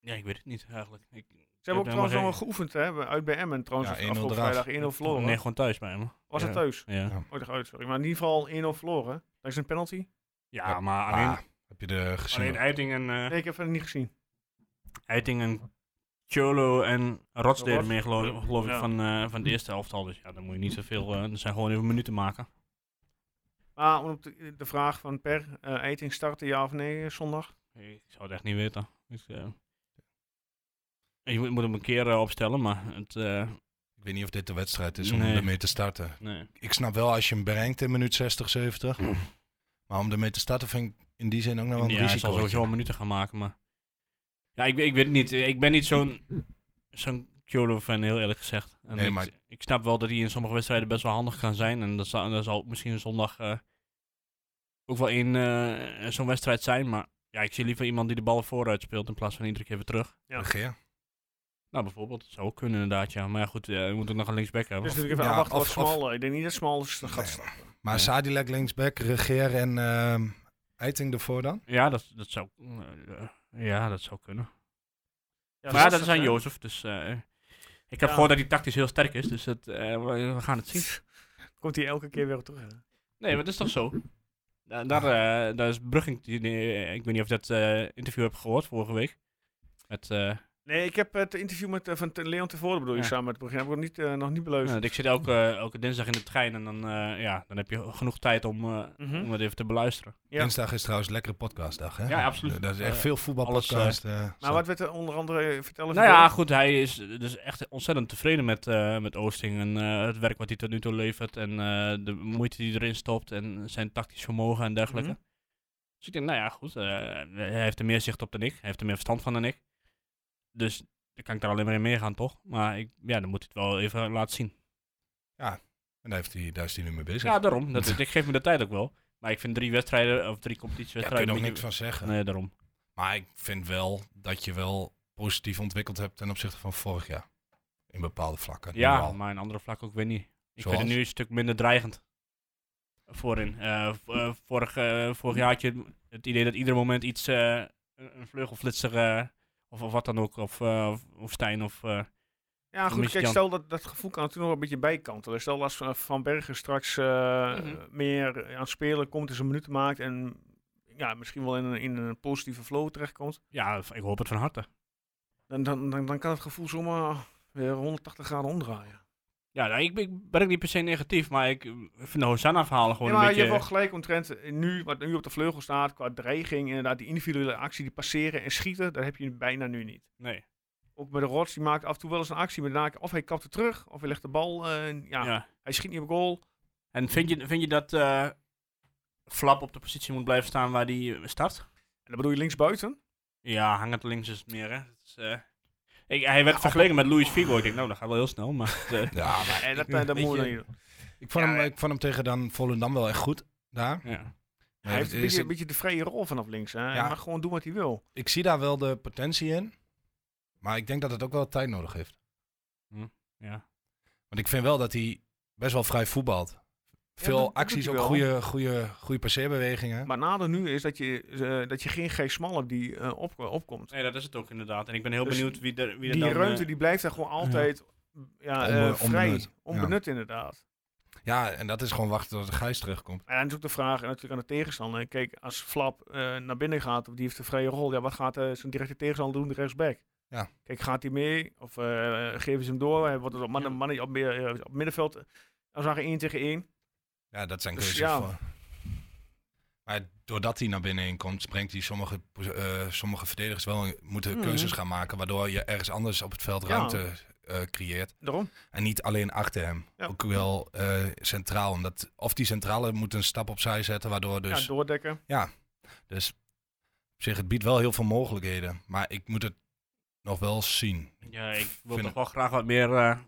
Speaker 4: ja, ik weet het niet eigenlijk. Ik,
Speaker 1: Ze hebben ook
Speaker 4: helemaal
Speaker 1: trouwens nog wel
Speaker 4: geen-
Speaker 1: geoefend, hè, bij- uit bij Emmen. Trouwens,
Speaker 5: Ja,
Speaker 1: af-
Speaker 5: 1-0
Speaker 1: afgelopen
Speaker 5: eraf.
Speaker 1: vrijdag 1-0 verloren.
Speaker 4: Nee, gewoon thuis bij hem.
Speaker 1: Was het
Speaker 4: ja.
Speaker 1: thuis?
Speaker 4: Ja, ja.
Speaker 1: Oh, toch uit, sorry. Maar in ieder geval 1-0 verloren. Dat is een penalty.
Speaker 5: Ja,
Speaker 4: maar alleen,
Speaker 5: Ah, heb je de gezien?
Speaker 4: alleen Uitingen, eh
Speaker 1: Nee, ik heb het niet gezien.
Speaker 4: Eitingen, Cholo en Rots deden
Speaker 1: Rots?
Speaker 4: meer, geloof, geloof ik,
Speaker 1: Ja.
Speaker 4: van, eh, van de eerste helft al. Dus ja, dan moet je niet zoveel... eh dan zijn gewoon even minuten maken.
Speaker 1: Maar Ah, om op de, de vraag van Per, eh Eiting starten ja of nee eh, zondag?
Speaker 4: Ik zou het echt niet weten. Ik, eh, je moet, moet hem een keer eh, opstellen, maar het... eh,
Speaker 5: Ik weet niet of dit de wedstrijd is om
Speaker 4: Nee.
Speaker 5: ermee te starten.
Speaker 4: nee.
Speaker 5: Ik snap wel als je hem bereikt in minuut 60, 70.
Speaker 4: Mm.
Speaker 5: maar om ermee te starten vind ik in die zin ook nog wel een
Speaker 4: ja, hij zal
Speaker 5: risico.
Speaker 4: sowieso wel minuten gaan maken, maar... Ja, ik, weet- ik weet het niet. Ik ben niet zo'n zo'n Cholo-fan, heel eerlijk gezegd. En
Speaker 5: Nee,
Speaker 4: ik,
Speaker 5: maar-
Speaker 4: ik snap wel dat hij in sommige wedstrijden best wel handig kan zijn. En dat zal, dat zal misschien zondag eh, ook wel in eh, zo'n wedstrijd zijn. Maar ja, ik zie liever iemand die de bal vooruit speelt in plaats van iedere keer weer terug.
Speaker 1: Ja.
Speaker 5: Regeer.
Speaker 4: Nou, bijvoorbeeld. Dat zou ook kunnen inderdaad, ja. Maar ja, goed, eh, we moeten ook nog een linksback hebben.
Speaker 1: Dus natuurlijk even
Speaker 5: Ja,
Speaker 1: afwachten wat
Speaker 5: of-
Speaker 1: Smal... eh, Ik denk niet dat Smal s- gaat
Speaker 5: Nee.
Speaker 1: starten.
Speaker 5: Maar
Speaker 4: Ja.
Speaker 5: Sadilek linksback, Regeer en ehm Eiting ervoor dan?
Speaker 4: Ja, dat, dat zou... eh, eh, ja, dat zou kunnen.
Speaker 1: Ja,
Speaker 4: maar ja, dat
Speaker 1: lastig,
Speaker 4: is aan
Speaker 1: hè?
Speaker 4: Jozef, dus... eh, ik heb
Speaker 1: Ja.
Speaker 4: gehoord dat hij tactisch heel sterk is, dus dat, eh, we, we gaan het zien.
Speaker 1: [LAUGHS] Komt hij elke keer weer op terug. hè?
Speaker 4: Nee, maar dat is toch zo? Da- Daar, eh, daar is Brugging... die- die- ik weet niet of je dat eh, interview hebt gehoord vorige week. Met, eh,
Speaker 1: Nee, ik heb het interview met, eh, van Te- Leon Tevoren bedoel je,
Speaker 4: Ja.
Speaker 1: samen met het begin. Heb ik nog niet, eh, nog niet beluisterd.
Speaker 4: nou, ik zit elke, elke dinsdag in de trein en dan, eh, ja, dan heb je genoeg tijd om, eh,
Speaker 1: Mhm.
Speaker 4: om het even te beluisteren.
Speaker 1: Ja.
Speaker 5: Dinsdag is trouwens lekkere podcastdag, hè?
Speaker 4: Ja, absoluut.
Speaker 5: Dat is echt
Speaker 4: Eh,
Speaker 5: veel
Speaker 4: alles,
Speaker 5: voetbalpodcast. eh,
Speaker 1: Maar
Speaker 5: zo.
Speaker 1: wat werd er onder andere eh, vertellen?
Speaker 4: Nou ja, goed, hij is dus echt ontzettend tevreden met, eh, met Oosting en eh, het werk wat hij tot nu toe levert en eh, de moeite die hij erin stopt en zijn tactisch vermogen en dergelijke.
Speaker 1: Mhm.
Speaker 4: Dus ik denk, nou ja, goed, eh, hij heeft er meer zicht op dan ik, hij heeft er meer verstand van dan ik. Dus dan kan ik daar alleen maar in meegaan, toch? Maar ik, ja, dan moet hij het wel even laten zien.
Speaker 5: En daar, heeft hij, daar is hij nu mee bezig.
Speaker 4: Ja, daarom. Dat, [LAUGHS] ik geef me de tijd ook wel. Maar ik vind drie wedstrijden of drie
Speaker 5: Daar kun je
Speaker 4: competitiewedstrijden...
Speaker 5: nog niks
Speaker 4: moet je-
Speaker 5: van zeggen.
Speaker 4: Nee, daarom.
Speaker 5: Maar ik vind wel dat je wel positief ontwikkeld hebt ten opzichte van vorig jaar. In bepaalde vlakken. nu
Speaker 4: Ja,
Speaker 5: al.
Speaker 4: maar in andere vlakken ook weer niet. Ik
Speaker 5: Zoals?
Speaker 4: vind het nu een stuk minder dreigend. Voorin. Eh, v- eh, vorig, eh, vorig jaar had je het idee dat ieder moment iets, eh, een een vleugelflitser eh, of, of wat dan ook, of, eh, of, of Stijn of... eh,
Speaker 1: Ja, goed.
Speaker 4: Mist
Speaker 1: Kijk,
Speaker 4: Jan.
Speaker 1: stel dat dat gevoel kan natuurlijk nog een beetje bijkantelen. Stel als eh, Van Bergen straks eh,
Speaker 4: Mhm.
Speaker 1: meer aan het spelen komt, dus een minuut maakt en ja, misschien wel in een, in een positieve flow terechtkomt.
Speaker 4: ja, ik hoop het van harte.
Speaker 1: Dan, dan, dan, dan kan het gevoel zomaar weer 180 graden omdraaien.
Speaker 4: Ja, nou, ik, ik ben ook niet per se negatief, maar ik eh, vind de Hosanna-verhalen gewoon
Speaker 1: Ja, maar
Speaker 4: een beetje...
Speaker 1: je hebt wel gelijk omtrent eh, nu, wat nu op de vleugel staat, qua dreiging, inderdaad, die individuele actie, die passeren en schieten, dat heb je bijna nu niet.
Speaker 4: Nee,
Speaker 1: Ook bij de Rots, die maakt af en toe wel eens een actie, maar daarna, of hij kapt er terug, of hij legt de bal, eh, ja,
Speaker 4: ja.
Speaker 1: hij schiet niet op goal.
Speaker 4: En vind je, vind je dat eh, Flap op de positie moet blijven staan waar die eh, start?
Speaker 1: En dan bedoel je linksbuiten?
Speaker 4: Ja, hangend links is het meer, hè. Het is, eh, ik, hij werd vergeleken met Luis Figo. Ik denk, nou, dat gaat wel heel
Speaker 1: [LAUGHS]
Speaker 4: snel, maar... eh,
Speaker 5: Ja, maar
Speaker 1: En dat,
Speaker 4: [LAUGHS]
Speaker 1: eh, dat
Speaker 4: Weet
Speaker 1: moet je
Speaker 4: je,
Speaker 1: dan niet doen.
Speaker 5: ik, vond
Speaker 1: Ja,
Speaker 5: hem,
Speaker 1: ja.
Speaker 5: ik vond hem tegen dan Volendam wel echt goed. Daar.
Speaker 4: ja.
Speaker 5: Maar
Speaker 1: Hij heeft
Speaker 5: het
Speaker 1: een
Speaker 5: is-
Speaker 1: beetje, een beetje de vrije rol vanaf links. Hè? Hij
Speaker 5: Ja.
Speaker 1: mag gewoon doen wat hij wil.
Speaker 5: ik zie daar wel de potentie in. Maar ik denk dat het ook wel tijd nodig heeft.
Speaker 4: ja.
Speaker 5: Want ik vind wel dat hij best wel vrij voetbalt. Veel
Speaker 1: dat- dat doet
Speaker 5: acties,
Speaker 1: hij
Speaker 5: ook
Speaker 1: wel.
Speaker 5: goede, goede, goede passeerbewegingen.
Speaker 1: Maar het nadeel nu is dat je, eh, dat je geen G. Smal hebt die eh, op, opkomt.
Speaker 4: Nee, dat is het ook inderdaad. En ik ben heel
Speaker 1: Dus
Speaker 4: benieuwd wie er, wie er
Speaker 1: Die
Speaker 4: dan... eh,
Speaker 1: ruimte die blijft daar gewoon altijd ja. eh,
Speaker 5: Onbe-
Speaker 1: vrij.
Speaker 5: onbenut.
Speaker 1: Onbenut,
Speaker 5: Ja.
Speaker 1: inderdaad.
Speaker 5: Ja, en dat is gewoon wachten tot de Gijs terugkomt.
Speaker 1: En dan is ook de vraag en natuurlijk aan de tegenstander. Kijk, als Flap eh, naar binnen gaat, of die heeft een vrije rol. Ja, wat gaat eh, zijn directe tegenstander doen, de rechtsback?
Speaker 5: Ja.
Speaker 1: Kijk, gaat hij mee? Of eh, geven ze hem door? Hij wordt het op, mannen, mannen op, meer- eh, op middenveld. Als we zeggen 1 tegen 1.
Speaker 5: Ja, dat zijn
Speaker 1: Dus
Speaker 5: keuzes
Speaker 1: ja.
Speaker 5: voor. Maar doordat hij naar binnen in komt, brengt hij sommige, eh, sommige verdedigers wel moeten
Speaker 1: Mhm.
Speaker 5: keuzes gaan maken, waardoor je ergens anders op het veld
Speaker 1: Ja.
Speaker 5: ruimte eh, creëert.
Speaker 1: Daarom.
Speaker 5: En niet alleen achter hem.
Speaker 1: Ja.
Speaker 5: Ook wel eh, centraal. Omdat, of die centrale moet een stap opzij zetten, waardoor dus...
Speaker 1: Ja, doordekken.
Speaker 5: dus op zich, het biedt wel heel veel mogelijkheden. Maar ik moet het nog wel zien.
Speaker 4: Ja, ik wil
Speaker 5: Vind-
Speaker 4: toch wel graag wat meer... eh,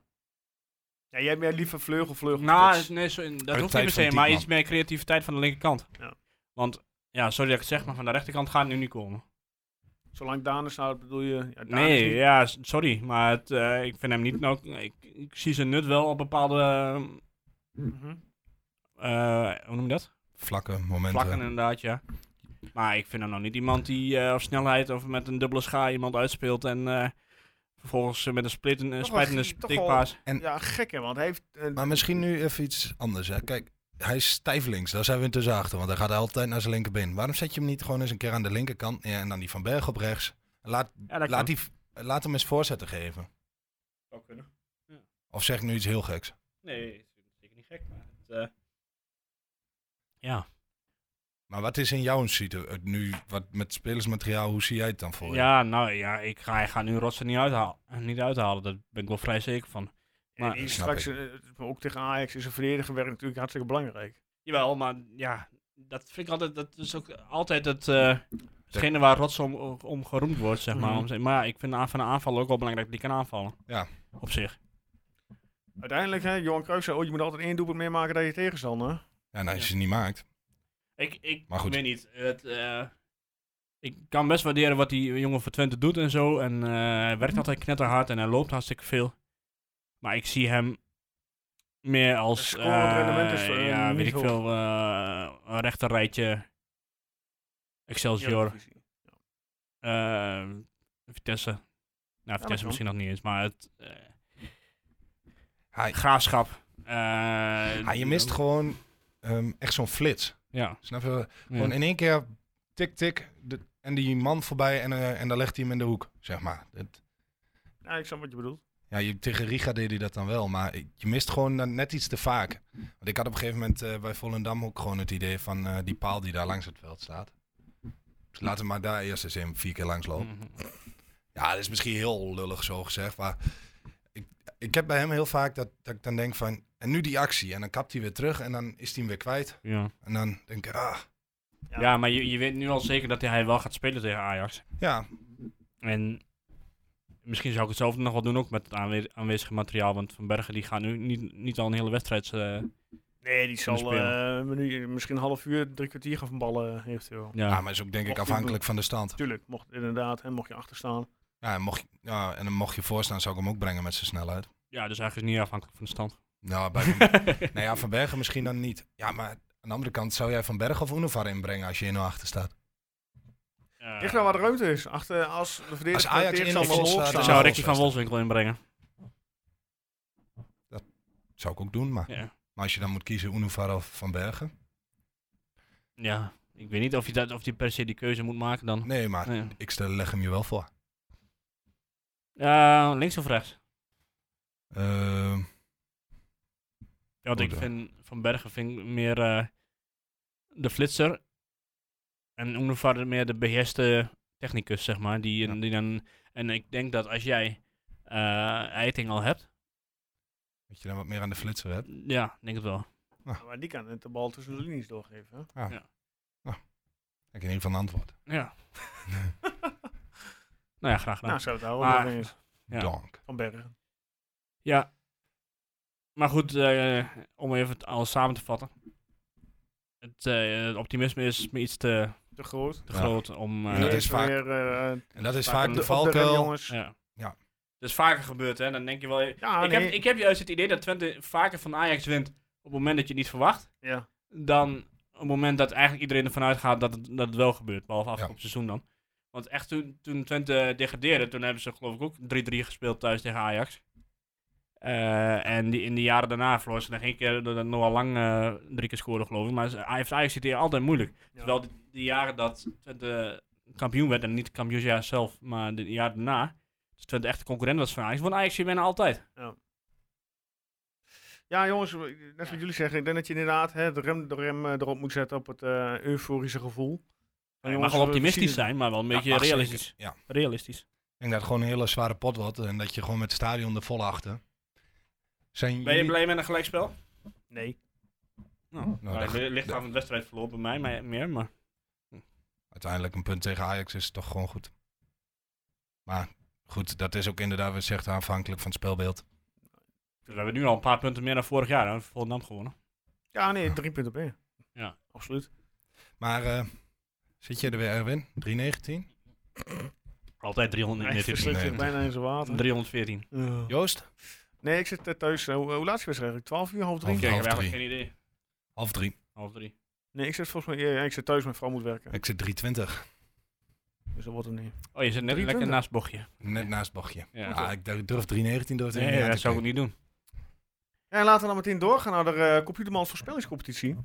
Speaker 1: Ja, jij hebt meer liever vleugel, vleugel.
Speaker 4: Nou,
Speaker 1: spits.
Speaker 4: nee, zo, dat
Speaker 5: Uit
Speaker 4: hoeft
Speaker 5: tijd
Speaker 4: niet per
Speaker 5: van
Speaker 4: se, maar
Speaker 5: Diekman.
Speaker 4: iets meer creativiteit van de linkerkant.
Speaker 1: Ja.
Speaker 4: Want, ja, sorry dat ik het zeg, maar van de rechterkant gaat het nu niet komen.
Speaker 1: Zolang Daan is nou, bedoel je... Ja, Daan is
Speaker 4: nee,
Speaker 1: niet-
Speaker 4: ja, s- sorry, maar het, eh, ik vind hem niet... Nou, ik, ik zie zijn nut wel op bepaalde... Mm.
Speaker 1: Mhm.
Speaker 4: eh, hoe noem je dat?
Speaker 5: Vlakke momenten.
Speaker 4: Vlakken inderdaad, ja. Maar ik vind hem nog niet iemand die eh, op snelheid of met een dubbele schaar iemand uitspeelt en... eh, Vervolgens eh, met een splitten, eh,
Speaker 1: Toch wel
Speaker 4: splijtende
Speaker 1: gie- toch
Speaker 4: stikpaas.
Speaker 1: Ja, gek hè, want hij heeft... eh,
Speaker 5: Maar misschien nu even iets anders. Hè. Kijk, hij is stijf links. Daar zijn we intussen achter. Want hij gaat altijd naar zijn linkerbeen. Waarom zet je hem niet gewoon eens een keer aan de linkerkant neer en dan die van Berg op rechts? Laat,
Speaker 4: Ja, dat
Speaker 5: laat,
Speaker 4: kan.
Speaker 5: die, laat hem eens voorzetten geven. Of zeg ik nu iets heel geks.
Speaker 4: Nee, zeker niet gek, maar... Het, eh, ja,
Speaker 5: Maar wat is in jouw situatie nu, wat met spelersmateriaal, hoe zie jij het dan voor je?
Speaker 4: Ja, nou ja, ik ga, ik ga nu Rotsen niet uithalen, niet uithalen. Daar ben ik wel vrij zeker van.
Speaker 1: maar,
Speaker 4: Maar,
Speaker 5: snap
Speaker 1: straks, eh, ook tegen Ajax is een verdediger werk natuurlijk hartstikke belangrijk.
Speaker 4: jawel, maar ja, dat vind ik altijd. Dat is ook altijd het, eh, hetgene waar Rotsen om, om geroemd wordt, zeg maar.
Speaker 1: Mhm.
Speaker 4: Om te- Maar ja, ik vind aan- van een aanval ook wel belangrijk dat die kan aanvallen.
Speaker 5: Ja.
Speaker 4: Op zich.
Speaker 1: Uiteindelijk, hè, Johan Cruijff zei, oh, je moet altijd één doelpunt meer maken dan je tegenstander.
Speaker 5: Ja, nou, als je ze niet maakt.
Speaker 4: Ik, ik
Speaker 5: Maar goed.
Speaker 4: weet niet. Het, eh, ik kan best waarderen wat die jongen voor Twente doet en zo. En eh, hij werkt altijd knetterhard en hij loopt hartstikke veel. Maar ik zie hem meer als...
Speaker 1: Het scorend
Speaker 4: eh,
Speaker 1: rendement is, eh,
Speaker 4: ja,
Speaker 1: niet
Speaker 4: weet ik
Speaker 1: hoog.
Speaker 4: veel. eh een rechterrijtje. Excelsior.
Speaker 1: Eredivisie.
Speaker 4: eh, Vitesse. Nou,
Speaker 1: dat
Speaker 4: Vitesse
Speaker 1: kan.
Speaker 4: misschien nog niet eens, maar het... eh,
Speaker 5: Hij-
Speaker 4: graafschap. eh,
Speaker 5: Ah, je mist gewoon ehm, echt zo'n flits.
Speaker 4: Ja.
Speaker 5: Snap je? Gewoon
Speaker 4: ja.
Speaker 5: in één keer tik, tik. de- en die man voorbij en, eh, en dan legt hij hem in de hoek, zeg maar. Het,
Speaker 1: Ja, ik snap wat je bedoelt.
Speaker 5: Ja, je, tegen Riga deed hij dat dan wel, maar je mist gewoon dan net iets te vaak. Want ik had op een gegeven moment eh, bij Volendam ook gewoon het idee van eh, die paal die daar langs het veld staat. Dus laten we maar daar eerst eens even vier keer langs lopen.
Speaker 4: Mhm.
Speaker 5: Ja, dat is misschien heel lullig zo gezegd, maar ik, ik heb bij hem heel vaak dat, dat ik dan denk van, en nu die actie. En dan kapt hij weer terug en dan is hij hem weer kwijt.
Speaker 4: ja.
Speaker 5: En dan denk ik, ah,
Speaker 1: Ja.
Speaker 4: Ja, maar je, je weet nu al zeker dat hij wel gaat spelen tegen Ajax.
Speaker 5: ja,
Speaker 4: En misschien zou ik hetzelfde nog wel doen ook met het aanwe- aanwezige materiaal. Want Van Bergen die gaat nu niet, niet al een hele wedstrijd. eh,
Speaker 1: Nee, die zal
Speaker 4: spelen.
Speaker 1: eh, menu- misschien een half uur, drie kwartier gaan eh, van ballen, eventueel.
Speaker 4: ja.
Speaker 5: ja, Ah, maar is ook denk ik
Speaker 1: Mocht hij
Speaker 5: afhankelijk van de stand.
Speaker 1: Tuurlijk, mocht, inderdaad, hè, mocht je achterstaan.
Speaker 5: Ja, en mocht, je- ja, en dan mocht je voorstaan, zou ik hem ook brengen met zijn snelheid.
Speaker 4: ja, dus eigenlijk is het niet afhankelijk van de stand.
Speaker 5: Nou, bij Van,
Speaker 4: [LAUGHS]
Speaker 5: nou ja, Van Bergen misschien dan niet. Ja, maar aan de andere kant zou jij Van Bergen of Unovar inbrengen als je 1-0 achter staat.
Speaker 4: Eh,
Speaker 1: Ligt nou waar de ruimte is. Achter, als de verdediger
Speaker 5: Als
Speaker 1: van
Speaker 5: Ajax in
Speaker 1: tegenstander
Speaker 5: de
Speaker 1: hoog
Speaker 5: opzet staat,
Speaker 4: ik
Speaker 1: staat.
Speaker 4: zou
Speaker 5: dan-
Speaker 4: Ricky van Wolfswinkel inbrengen.
Speaker 5: Zou ik ook doen, maar,
Speaker 4: Ja.
Speaker 5: maar als je dan moet kiezen Unovar of Van Bergen.
Speaker 4: ja, ik weet niet of je, dat, of je per se die keuze moet maken dan.
Speaker 5: Nee, maar
Speaker 4: Nee.
Speaker 5: ik stel, leg hem je wel voor.
Speaker 4: Eh, links of rechts?
Speaker 5: Ehm,
Speaker 4: Ja, want ik
Speaker 5: Oké.
Speaker 4: vind Van Bergen vind ik meer eh, de flitser. En Oenevaar meer de beheerste technicus, zeg maar. Die, die dan, en ik denk dat als jij eh Eiting al hebt,
Speaker 5: dat je dan wat meer aan de flitser hebt.
Speaker 4: ja, ik denk het wel.
Speaker 1: Maar die kan het de bal tussen de linies doorgeven. hè.
Speaker 5: [LAUGHS] Heb je in ieder geval een antwoord.
Speaker 4: Ja. [LAUGHS] Nou ja, graag gedaan.
Speaker 1: Nou, zou het houden.
Speaker 4: Maar-
Speaker 1: dat ding is
Speaker 4: Ja.
Speaker 5: Donk.
Speaker 1: Van Bergen.
Speaker 4: Ja. Maar goed, eh, om even het alles samen te vatten. Het, eh, het optimisme is me iets te,
Speaker 1: Te groot.
Speaker 4: te
Speaker 5: Ja.
Speaker 4: groot om... eh,
Speaker 5: dat
Speaker 1: Even
Speaker 5: is vaak-
Speaker 1: weer, eh, op
Speaker 5: En dat is
Speaker 4: Maar
Speaker 5: vaak
Speaker 4: op
Speaker 5: de
Speaker 4: de
Speaker 1: rem,
Speaker 5: valkuil.
Speaker 1: jongens.
Speaker 4: ja.
Speaker 5: Ja.
Speaker 4: Dat is vaker gebeurd, hè. Dan denk je wel... Ik,
Speaker 1: Ja, Ah, nee.
Speaker 4: heb, ik heb juist het idee dat Twente vaker van Ajax wint op het moment dat je het niet verwacht,
Speaker 1: ja.
Speaker 4: dan op het moment dat eigenlijk iedereen ervan uitgaat dat het, dat het wel gebeurt. Behalve afgelopen
Speaker 5: Ja.
Speaker 4: seizoen dan. Want echt toen, toen Twente degradeerde, toen hebben ze geloof ik ook 3-3 gespeeld thuis tegen Ajax. Eh, en die, in de jaren daarna verloor ze nog één keer doordat Noah Lang eh, drie keer scoorde geloof ik. Maar ze- hij heeft Ajax het hier altijd moeilijk. Terwijl de, de jaren dat Twente kampioen werd, en niet kampioensjaar zelf, maar de jaren daarna, dus Twente echt de concurrent was van Ajax, won Ajax hier bijna altijd.
Speaker 1: Ja, jongens, net wat jullie zeggen, ik denk dat je inderdaad hè, de rem, de rem eh, erop moet zetten op het eh, euforische gevoel.
Speaker 4: Je mag
Speaker 1: jongens,
Speaker 4: wel
Speaker 1: we- we zien
Speaker 4: optimistisch
Speaker 1: het.
Speaker 4: zijn, maar wel een
Speaker 5: Ja,
Speaker 4: beetje
Speaker 5: ach, zeker.
Speaker 4: realistisch.
Speaker 5: Ja.
Speaker 4: realistisch.
Speaker 5: Ik denk dat het gewoon een hele zware pot wordt en dat je gewoon met het stadion er vol achter. Zijn
Speaker 4: Ben je
Speaker 5: jullie-
Speaker 4: blij met een gelijkspel?
Speaker 1: Nee.
Speaker 4: Nou,
Speaker 5: Nou, dat-
Speaker 4: het ligt
Speaker 5: dat-
Speaker 4: aan de wedstrijd verloren bij mij, maar meer. Maar
Speaker 5: Uiteindelijk een punt tegen Ajax is toch gewoon goed. Maar goed, dat is ook inderdaad wat je zegt aanvankelijk van het speelbeeld.
Speaker 4: we hebben nu al een paar punten meer dan vorig jaar. Hè. Volendam gewonnen.
Speaker 1: Ja, nee, drie punten op één.
Speaker 4: Ja.
Speaker 1: Absoluut.
Speaker 5: Maar eh, zit je er weer, Erwin? 319?
Speaker 4: Altijd
Speaker 1: Hij
Speaker 4: 314.
Speaker 1: verslikt zich
Speaker 5: nee.
Speaker 1: bijna in zijn water.
Speaker 4: 314.
Speaker 1: Ja.
Speaker 5: Joost?
Speaker 1: Nee, ik zit eh, thuis. eh, hoe, hoe laat is het eigenlijk? 12 uur, half drie?
Speaker 5: Half-
Speaker 4: Kijk, ik
Speaker 5: half
Speaker 4: heb eigenlijk
Speaker 5: drie.
Speaker 4: geen idee.
Speaker 5: Half drie.
Speaker 4: Half drie.
Speaker 1: Nee, ik zit volgens mij. Ja, ik zit thuis, mijn vrouw moet werken.
Speaker 5: Ik zit 320.
Speaker 1: Dus dat wordt hem niet.
Speaker 4: Oh, je zit net lekker
Speaker 1: 320.
Speaker 4: naast bochtje.
Speaker 5: Net naast Bochtje.
Speaker 4: Ja.
Speaker 5: Ah, ik durf durf 319 durf ik
Speaker 4: Nee,
Speaker 5: niet aan
Speaker 4: dat
Speaker 5: te
Speaker 4: zou ik
Speaker 5: kijken.
Speaker 4: niet doen.
Speaker 1: Ja, en laten we dan meteen doorgaan naar de eh Computermans voorspellingscompetitie.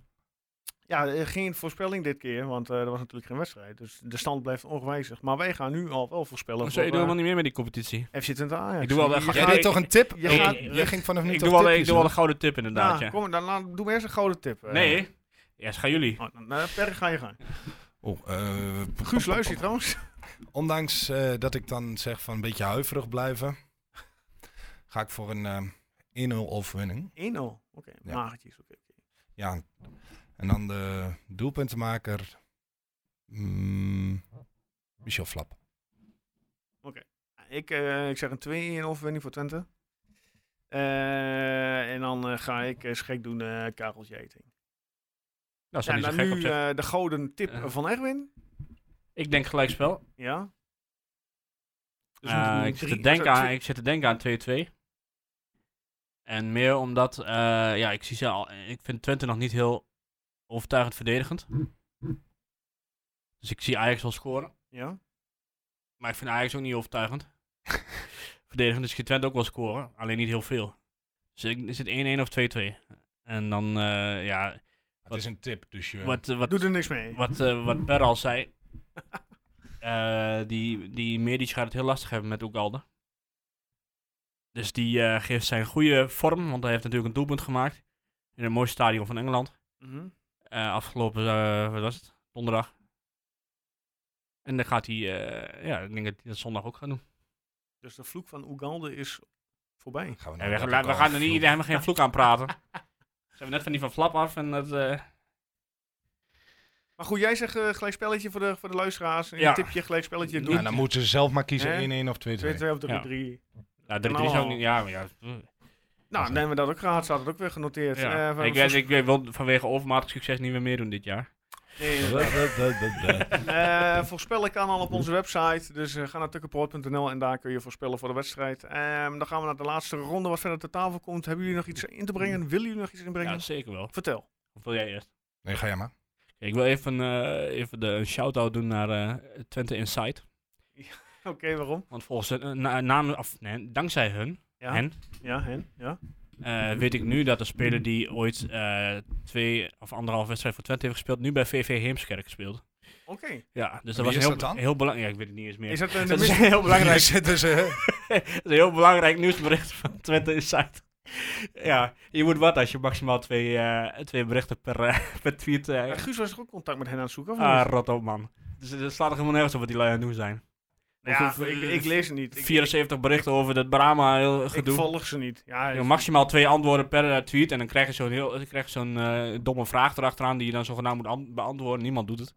Speaker 1: Ja, eh, geen voorspelling dit keer, want eh, er was natuurlijk geen wedstrijd. Dus de stand blijft ongewijzigd. Maar wij gaan nu al wel voorspellen
Speaker 4: Zo, ik
Speaker 1: voor
Speaker 4: doe
Speaker 1: eh,
Speaker 4: helemaal niet meer met die competitie.
Speaker 1: FC Twente Ajax.
Speaker 4: Ik doe wel
Speaker 1: Je
Speaker 4: echt-
Speaker 1: gaat-
Speaker 4: niet.
Speaker 5: Jij
Speaker 4: Ja,
Speaker 5: deed
Speaker 4: ik-
Speaker 5: toch een tip?
Speaker 1: je
Speaker 5: Oh,
Speaker 1: gaat-
Speaker 5: Jij ging vanaf nu
Speaker 4: Ik
Speaker 5: toch
Speaker 4: doe wel, ik
Speaker 5: tipjes
Speaker 4: doe wel een
Speaker 5: doen?
Speaker 4: gouden tip inderdaad,
Speaker 1: Nou,
Speaker 4: ja.
Speaker 1: kom, dan, laat- doe maar eerst een gouden tip. eh.
Speaker 4: Nee. Ja, gaan jullie.
Speaker 1: Oh, dan, eh, per ga je gaan.
Speaker 5: Oh, eh,
Speaker 1: Guus, luister je
Speaker 4: [LAUGHS]
Speaker 1: trouwens?
Speaker 5: Ondanks eh, dat ik dan zeg van een beetje huiverig blijven, ga ik voor een eh 1-0 overwinning.
Speaker 1: 1-0. Oké,
Speaker 5: Ja.
Speaker 1: magertjes. oké, oké.
Speaker 5: Ja, en dan de doelpuntenmaker, mm, Michel Flap.
Speaker 1: Ik, eh, ik zeg een 2-1 overwinning voor Twente. Eh, en dan eh, ga ik eh gek doen eh Karel Jeting.
Speaker 4: Nou,
Speaker 1: Ja, en
Speaker 4: zou niet
Speaker 1: dan
Speaker 4: zo gek
Speaker 1: nu
Speaker 4: op zijn.
Speaker 1: eh, de gouden tip
Speaker 4: Ja.
Speaker 1: van Erwin.
Speaker 4: Ik denk gelijkspel.
Speaker 1: Ja. Dus
Speaker 4: Eh,
Speaker 1: een- een
Speaker 4: ik, zit te
Speaker 1: drie-
Speaker 4: denken
Speaker 1: dus een
Speaker 4: aan, ik zit te denken aan 2-2. En meer omdat, eh, ja, ik, zie ze al, ik vind Twente nog niet heel overtuigend verdedigend. Dus ik zie Ajax wel scoren.
Speaker 1: twee- Ja.
Speaker 4: Maar ik vind Ajax ook niet overtuigend. [LAUGHS] verdedigend, dus ik zie Twente ook wel scoren. Alleen niet heel veel. Dus ik, is het 1-1 of 2-2? En dan, eh, ja,
Speaker 5: Het is een tip, dus je...
Speaker 4: wat, eh, wat,
Speaker 1: Doet er niks mee.
Speaker 4: wat, eh, [LAUGHS] wat Per al zei. eh, die, die Medic gaat het heel lastig hebben met Ugalde. Dus die eh, geeft zijn goede vorm, want hij heeft natuurlijk een doelpunt gemaakt. In een mooi stadion van Engeland.
Speaker 1: Mhm.
Speaker 4: Eh, afgelopen, eh, wat was het? Donderdag. En dan gaat hij, eh, ja, ik denk dat hij dat zondag ook gaat doen.
Speaker 1: Dus de vloek van Oegalde is voorbij.
Speaker 5: Gaan we,
Speaker 4: Ja,
Speaker 5: nou
Speaker 4: we,
Speaker 5: dat
Speaker 4: la-
Speaker 5: ook
Speaker 4: we
Speaker 5: al
Speaker 4: gaan er
Speaker 5: vroeg-
Speaker 4: niet, helemaal geen vloek aan [LAUGHS] praten. Ze hebben net van die van Flap af en dat... eh,
Speaker 1: Maar goed, jij zegt eh, gelijk spelletje voor de, voor de luisteraars. Een
Speaker 4: Ja.
Speaker 1: tipje, gelijk spelletje.
Speaker 4: Ja,
Speaker 1: Doe
Speaker 5: Nou, dan moeten ze zelf maar kiezen
Speaker 1: Hè?
Speaker 5: 1-1 of 2-2.
Speaker 1: 2-2 of 3-3.
Speaker 4: Ja.
Speaker 1: kan
Speaker 4: nou, drie, drie zou
Speaker 1: allemaal.
Speaker 4: niet... Ja, maar ja.
Speaker 1: Nou, dan hebben we dat ook gehad. Staat het ook weer genoteerd.
Speaker 4: Ja.
Speaker 1: Eh, we-
Speaker 4: ik, weet- ik wil vanwege overmatig succes niet meer meer doen dit jaar.
Speaker 1: Nee,
Speaker 5: Da,
Speaker 1: inderdaad.
Speaker 5: da, da, da, da.
Speaker 1: Eh, voorspellen kan al op onze website. Dus eh, ga naar tukkenpoort.nl en daar kun je voorspellen voor de wedstrijd. Ehm, dan gaan we naar de laatste ronde wat verder ter tafel komt. Hebben jullie nog iets in te brengen? Willen jullie nog iets inbrengen?
Speaker 4: Ja, zeker wel.
Speaker 1: Vertel.
Speaker 4: Of wil jij eerst?
Speaker 5: Nee, ga jij maar.
Speaker 4: Ik wil even, eh, even de, een shout-out doen naar eh, Twente Insight.
Speaker 1: Oké, waarom?
Speaker 4: Want volgens hun- eh, na- namen- of, nee, dankzij hun,
Speaker 1: Ja,
Speaker 4: hen,
Speaker 1: Ja, hen. Ja.
Speaker 4: eh, weet ik nu dat de speler die ooit eh, twee of anderhalf wedstrijd voor Twente heeft gespeeld, nu bij VV Heemskerk speelt.
Speaker 1: Oké.
Speaker 4: Ja, dus
Speaker 5: Wie
Speaker 4: dat was
Speaker 5: is
Speaker 4: heel,
Speaker 5: dat dan?
Speaker 4: heel belangrijk. Ja, ik weet het niet eens [LAUGHS] meer.
Speaker 1: Is dat eh, een
Speaker 4: Dat is een heel
Speaker 5: Hier
Speaker 4: belangrijk,
Speaker 5: [LAUGHS] zitten ze.
Speaker 4: dat is een heel belangrijk nieuwsbericht van Twente Insight. [LAUGHS] Ja, je moet wat als je maximaal twee, eh, twee berichten per, eh, [LAUGHS] per tweet... eh,
Speaker 1: Ja, Guus was toch ook contact met hen aan het zoeken? Of niet?
Speaker 4: ah, rot op, man. Dus het slaat er helemaal nergens op wat die lui aan het doen zijn.
Speaker 1: Nou ja,
Speaker 4: Of- of-
Speaker 1: ik, ik lees het niet. Ik,
Speaker 4: 74 berichten over dat Brahma heel
Speaker 1: ik
Speaker 4: gedoe.
Speaker 1: volg ze niet. Ja,
Speaker 4: Ja, maximaal twee antwoorden per eh, tweet. En dan krijg je zo'n, heel, dan krijg je zo'n eh, domme vraag erachteraan die je dan zogenaamd moet an- beantwoorden. Niemand doet het.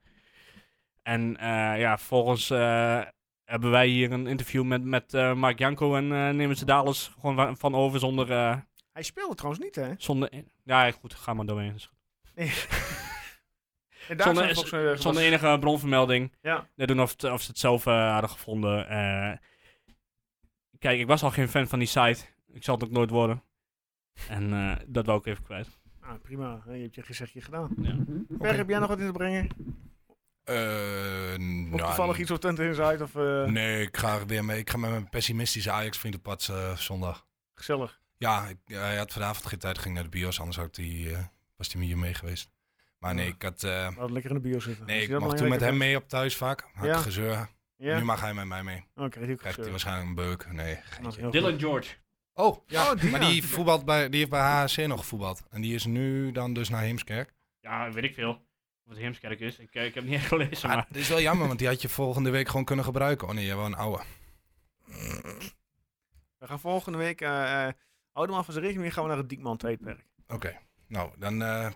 Speaker 4: En eh, ja, volgens eh, hebben wij hier een interview met, met eh, Mark Janko en eh, nemen ze daar alles gewoon wa- van over zonder... eh,
Speaker 1: Hij speelde trouwens niet, hè?
Speaker 4: zonder ja, goed, ga maar doorheen. Is goed.
Speaker 1: En daar
Speaker 4: Zonder-
Speaker 1: zijn volgens, eh,
Speaker 4: Zonder
Speaker 1: was-
Speaker 4: enige bronvermelding.
Speaker 1: Ja.
Speaker 4: Net doen of, het- of ze het zelf eh, hadden gevonden. eh. kijk, ik was al geen fan van die site. Ik zal het ook nooit worden. En eh, dat wou ik even kwijt.
Speaker 1: Ah, prima, je hebt je gezegd, je gedaan. Per,
Speaker 5: Oké.
Speaker 1: heb jij nog wat in te brengen?
Speaker 5: Eh,
Speaker 1: Of
Speaker 5: nou,
Speaker 1: toevallig iets op Twente Inside of eh,
Speaker 5: Nee, ik ga er weer mee. Ik ga met mijn pessimistische Ajax-vriend op pad eh, zondag.
Speaker 1: gezellig?
Speaker 5: Ja, ik, hij had vanavond geen tijd, ging naar de bios, anders had ik die, eh, was hij hier mee geweest. Maar nee, ik had... eh,
Speaker 1: Laat het lekker in de bio zitten.
Speaker 5: nee,
Speaker 1: Is
Speaker 5: ik
Speaker 1: dat
Speaker 5: mocht toen met
Speaker 1: belangrijker?
Speaker 5: hem mee op thuisvak. Had
Speaker 1: Ja.
Speaker 5: ik gezeur.
Speaker 1: Ja,
Speaker 5: Nu mag hij met mij mee.
Speaker 1: oké. die
Speaker 5: Krijgt
Speaker 1: was
Speaker 5: hij waarschijnlijk een beuk. Nee.
Speaker 4: Dylan George.
Speaker 5: Oh,
Speaker 1: Ja, die,
Speaker 5: maar die, voetbalt bij, die heeft bij HAC nog gevoetbald. En die is nu dan dus naar Heemskerk.
Speaker 4: Ja, weet ik veel. Of het Heemskerk is. Ik, eh, ik heb het niet [LAUGHS] echt gelezen, maar...
Speaker 5: Ah, dat is wel jammer, want die had je volgende week gewoon kunnen gebruiken. Oh nee, jij wel een oude.
Speaker 1: We gaan volgende week, eh eh hou er maar van zijn rekening, mee, gaan we naar het Diekman Tijdperk.
Speaker 5: Oké, nou, dan... eh,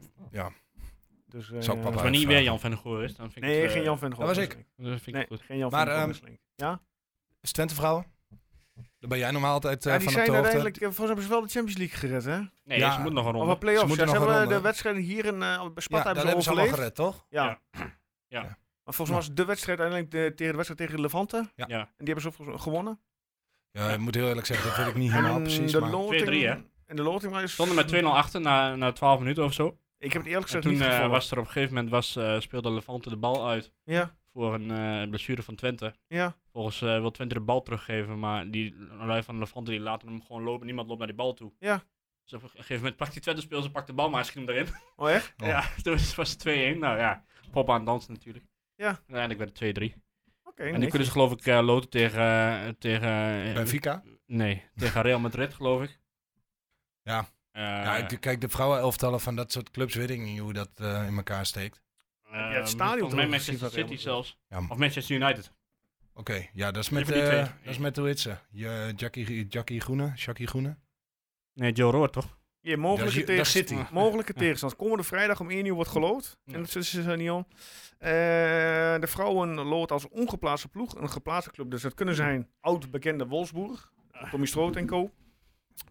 Speaker 1: Dus, eh,
Speaker 5: Zal ik papa-
Speaker 4: Als maar niet
Speaker 5: vragen.
Speaker 4: weer Jan van der Goor is, dan vind ik
Speaker 1: Nee,
Speaker 4: het, eh,
Speaker 1: geen Jan van der
Speaker 5: dat was ik.
Speaker 4: Dat vind
Speaker 1: Nee,
Speaker 4: ik goed.
Speaker 1: geen Jan
Speaker 5: Maar,
Speaker 1: van der Goor
Speaker 5: ehm,
Speaker 1: is link. Ja?
Speaker 5: is Twente vrouwen? Daar ben jij normaal altijd eh,
Speaker 1: ja, die
Speaker 5: van
Speaker 1: zijn
Speaker 5: op de hoogte.
Speaker 1: uiteindelijk, eh, volgens mij hebben ze wel de Champions League gered, hè?
Speaker 4: Nee,
Speaker 5: Ja.
Speaker 4: ze moeten nog een
Speaker 1: Of
Speaker 4: ronde.
Speaker 1: een play-offs.
Speaker 5: moeten
Speaker 1: Ja, Ze,
Speaker 5: nog een
Speaker 1: hebben de
Speaker 5: ronde.
Speaker 1: wedstrijden hier in eh bij Sparta hebben
Speaker 5: Ja, dat
Speaker 1: ze
Speaker 5: hebben ze allemaal
Speaker 1: overleefd.
Speaker 5: gered, toch?
Speaker 1: ja.
Speaker 4: Ja. [CLEARS THROAT] Ja.
Speaker 1: Maar volgens mij was de wedstrijd uiteindelijk de, tegen de wedstrijd tegen Levante.
Speaker 5: Ja.
Speaker 4: Ja.
Speaker 1: En die hebben ze volgens mij gewonnen.
Speaker 5: Ja, ik moet heel eerlijk zeggen, dat weet ik niet helemaal
Speaker 1: en eh,
Speaker 5: precies.
Speaker 1: de
Speaker 5: maar-
Speaker 1: loting-
Speaker 4: 2-3, hè?
Speaker 1: En de loting was...
Speaker 4: Stonden met 2-0 achter na, na 12 minuten of zo.
Speaker 1: Ik heb het eerlijk
Speaker 4: En
Speaker 1: gezegd
Speaker 4: toen
Speaker 1: niet
Speaker 4: eh,
Speaker 1: gevolgd.
Speaker 4: was er op een gegeven moment was, eh, speelde Levante de bal uit
Speaker 1: Ja,
Speaker 4: voor een eh, blessure van Twente.
Speaker 1: ja.
Speaker 4: Volgens eh wil Twente de bal teruggeven, maar die lui van Levante die laten hem gewoon lopen. Niemand loopt naar die bal toe.
Speaker 1: Ja.
Speaker 4: Dus op een gegeven moment pakt die Twente speler, ze pakt de bal, maar hij schiet hem erin.
Speaker 1: Oh, echt?
Speaker 5: Oh.
Speaker 4: [LAUGHS] Ja, dus was het 2-1. Nou ja, pop aan het dansen natuurlijk.
Speaker 1: Ja.
Speaker 4: En uiteindelijk werd het 2-3.
Speaker 1: Oké.
Speaker 4: en nu
Speaker 1: niks.
Speaker 4: kunnen ze geloof ik eh, loten tegen... eh, tegen eh,
Speaker 5: Benfica?
Speaker 4: Nee, tegen Real Madrid geloof ik.
Speaker 5: Ja.
Speaker 4: Eh,
Speaker 5: Ja, ik- kijk, de vrouwenelftallen van dat soort clubs weet ik niet hoe dat eh, in elkaar steekt.
Speaker 4: eh,
Speaker 1: Heb je het stadion
Speaker 4: volgens mij
Speaker 1: toch
Speaker 4: Manchester
Speaker 1: gezien van
Speaker 4: City
Speaker 1: Real
Speaker 4: zelfs.
Speaker 5: Ja, m-
Speaker 4: Of Manchester United.
Speaker 5: Oké, ja, dat is met,
Speaker 4: Even die
Speaker 5: eh,
Speaker 4: twee.
Speaker 5: dat is met hoe heet ze? Je, Jackie, Jackie Groene? Jackie Groene?
Speaker 4: Nee, Joe Roord toch?
Speaker 1: Ja, mogelijke
Speaker 5: Daar zie- daar zit
Speaker 1: tegenstand.
Speaker 5: hij.
Speaker 1: Mogelijke tegenstand. Komende vrijdag om 1 uur wordt gelood.
Speaker 4: Ja.
Speaker 1: En dat is er niet om. Eh, de vrouwen lood als ongeplaatste ploeg. Een geplaatste club. Dus dat kunnen zijn oud-bekende Wolfsburg. Tommy Stroot en co.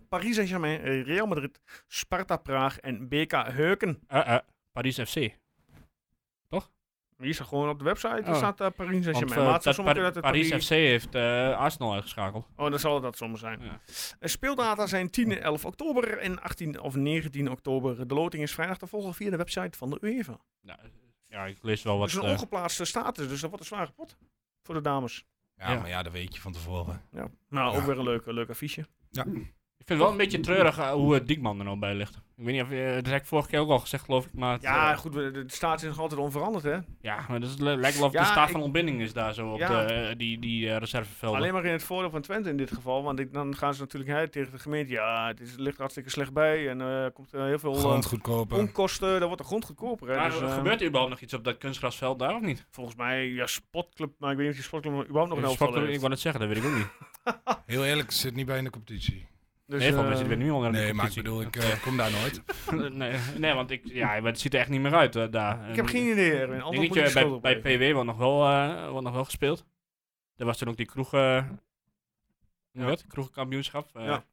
Speaker 1: Paris Saint-Germain, eh, Real Madrid, Sparta Praag en BK Heuken.
Speaker 4: Eh, eh, Paris FC.
Speaker 1: Die is er gewoon op de website. Daar
Speaker 4: Oh.
Speaker 1: staat eh, Paris
Speaker 4: Want,
Speaker 1: Saint-Germain.
Speaker 4: eh,
Speaker 1: Maar het zou zomaar
Speaker 4: dat Par-
Speaker 1: kunnen dat het
Speaker 4: Paris
Speaker 1: Paris-
Speaker 4: FC heeft eh, Arsenal uitgeschakeld.
Speaker 1: Oh, dan zal dat zomaar zijn.
Speaker 4: Ja.
Speaker 1: Eh, Speeldata zijn 10 en 11 oktober en 18 of 19 oktober. De loting is vrijdag te volgen via de website van de UEFA.
Speaker 4: Nou, ja, ik lees wel wat.
Speaker 1: Het is een
Speaker 4: eh,
Speaker 1: ongeplaatste status, dus dat wordt een zware pot voor de dames.
Speaker 5: Ja,
Speaker 4: Ja.
Speaker 5: maar ja, dat weet je van tevoren.
Speaker 1: Ja. Nou, ook
Speaker 5: Ja.
Speaker 1: weer een leuk, leuk affiche.
Speaker 4: ik vind het wel een beetje treurig eh, hoe het Diekman er nou bij ligt. Ik weet niet of je, dat heb ik vorige keer ook al gezegd, geloof ik. Maar het,
Speaker 1: Ja,
Speaker 4: eh,
Speaker 1: goed, we- de status is nog altijd onveranderd, hè?
Speaker 4: ja, maar dat is, le- lijkt wel of
Speaker 1: Ja,
Speaker 4: de staat
Speaker 1: ik-
Speaker 4: van ontbinding is daar zo op
Speaker 1: Ja.
Speaker 4: de, eh, die, die eh, reservevelden.
Speaker 1: Alleen maar in het voordeel van Twente in dit geval, want ik- dan gaan ze natuurlijk hè, tegen de gemeente. Ja, het is, ligt er hartstikke slecht bij en eh, er komt eh, heel veel eh,
Speaker 5: Grond goedkoper.
Speaker 1: onkosten. Dan wordt de grond goedkoper. Hè?
Speaker 4: maar
Speaker 1: dus,
Speaker 4: er
Speaker 1: eh,
Speaker 4: gebeurt er überhaupt nog iets op dat kunstgrasveld daar of niet?
Speaker 1: Volgens mij, ja, sportclub, maar ik weet niet of die sportclub überhaupt nog een
Speaker 4: Eh,
Speaker 1: elftal
Speaker 4: Sportclub- ik
Speaker 1: heeft.
Speaker 4: wou het zeggen, dat weet ik ook niet.
Speaker 5: Heel eerlijk, ze zit niet bij in de competitie.
Speaker 1: Dus,
Speaker 4: nee, volgens mij
Speaker 1: eh,
Speaker 4: zit er weer niemand aan de
Speaker 5: nee, maar ik
Speaker 4: competitie.
Speaker 5: bedoel, ik eh, kom daar nooit.
Speaker 4: [LAUGHS] nee, nee, want ik, ja, maar het ziet er echt niet meer uit eh, daar.
Speaker 1: ik heb geen idee, Erwin.
Speaker 4: Ik
Speaker 1: Anders
Speaker 4: denk
Speaker 1: moet je
Speaker 4: dat
Speaker 1: de schuld
Speaker 4: je bij,
Speaker 1: opgeven.
Speaker 4: bij PW wordt nog, wel, eh, wordt nog wel gespeeld. Er was toen ook die kroeg, eh, hoe heet het? kroegenkampioenschap. eh,
Speaker 1: Ja.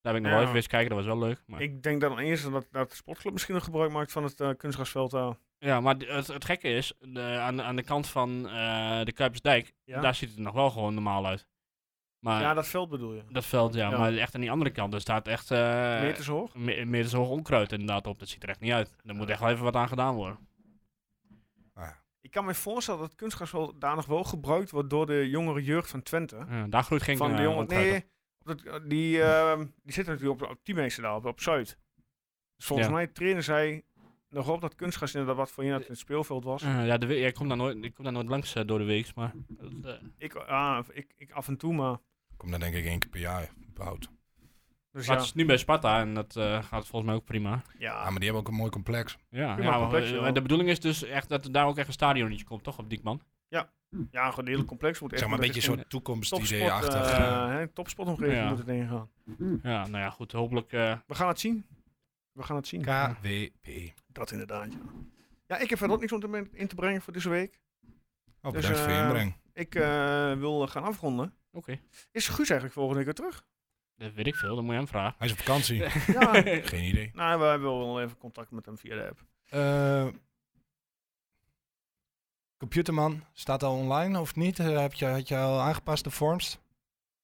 Speaker 4: Daar ben ik nog
Speaker 1: Ja.
Speaker 4: wel even eens kijken, dat was wel leuk. Maar,
Speaker 1: Ik denk dan eens dat, dat de sportclub misschien nog gebruik maakt van het eh, kunstgrasveld daar.
Speaker 4: ja, maar d- het, het gekke is, de, aan, de- aan de kant van eh, de Kuipersdijk,
Speaker 1: Ja?
Speaker 4: daar ziet het nog wel gewoon normaal uit. Maar
Speaker 1: ja, dat veld bedoel je.
Speaker 4: dat veld, ja,
Speaker 1: Ja.
Speaker 4: maar echt aan die andere kant, daar staat echt eh
Speaker 1: Meters hoog.
Speaker 4: me- meters hoog onkruid inderdaad op. Dat ziet er echt niet uit. Daar moet echt wel even wat aan gedaan worden.
Speaker 5: Maar ja,
Speaker 1: Ik kan me voorstellen dat het kunstgras wel daar nog wel gebruikt wordt door de jongere jeugd van Twente.
Speaker 4: Ja, daar groeit geen
Speaker 1: van de
Speaker 4: eh,
Speaker 1: jongen,
Speaker 4: onkruid op.
Speaker 1: nee, op dat- die, ehm, die zitten natuurlijk op, op Teammeester daar, op, op Zuid. Dus volgens
Speaker 4: Ja.
Speaker 1: mij trainen zij nog op dat kunstgras inderdaad wat voor je in het speelveld was.
Speaker 4: Eh, ja, de, we- ja, ik, kom daar nooit, ik kom daar nooit langs eh, door de week, maar... eh,
Speaker 1: Ik, ah, ik, ik af en toe maar.
Speaker 5: ik kom daar denk ik één keer per jaar, überhaupt.
Speaker 1: Dus
Speaker 4: Maar
Speaker 1: ja,
Speaker 4: het is nu bij Sparta en dat eh, gaat volgens mij ook prima.
Speaker 5: Ja,
Speaker 1: ja,
Speaker 5: maar die hebben ook een mooi complex.
Speaker 4: Ja,
Speaker 1: Prima
Speaker 4: ja, maar,
Speaker 1: complex,
Speaker 4: eh,
Speaker 1: joh.
Speaker 4: maar de bedoeling is dus echt dat er daar ook echt een stadionnetje komt, toch? Op Diekman.
Speaker 1: ja, gewoon heel complex moet echt.
Speaker 5: Zeg maar een beetje
Speaker 1: dat is
Speaker 5: zo'n
Speaker 1: topsport,
Speaker 5: toekomstidee-achtig.
Speaker 1: eh, hè, topsportomgeving
Speaker 4: Ja.
Speaker 1: moet het heen gaan.
Speaker 4: Ja, nou ja, goed. Hopelijk. eh,
Speaker 1: We gaan het zien. We gaan het zien.
Speaker 5: KWP.
Speaker 1: Dat inderdaad, ja. Ja, ik heb verder ook niks om te men- in te brengen voor deze week. Dus,
Speaker 5: Oh, bedankt voor je
Speaker 1: eh,
Speaker 5: inbreng.
Speaker 1: Ik eh, wil gaan afronden.
Speaker 4: Oké.
Speaker 1: Is Guus eigenlijk volgende week weer terug?
Speaker 4: Dat weet ik veel, dan moet je hem vragen.
Speaker 5: Hij is op vakantie. [LAUGHS]
Speaker 1: ja.
Speaker 5: Geen idee.
Speaker 1: Nou, we hebben wel even contact met hem via de app.
Speaker 5: Eh, computerman, staat al online of niet? Eh, heb je, had je al aangepaste forms?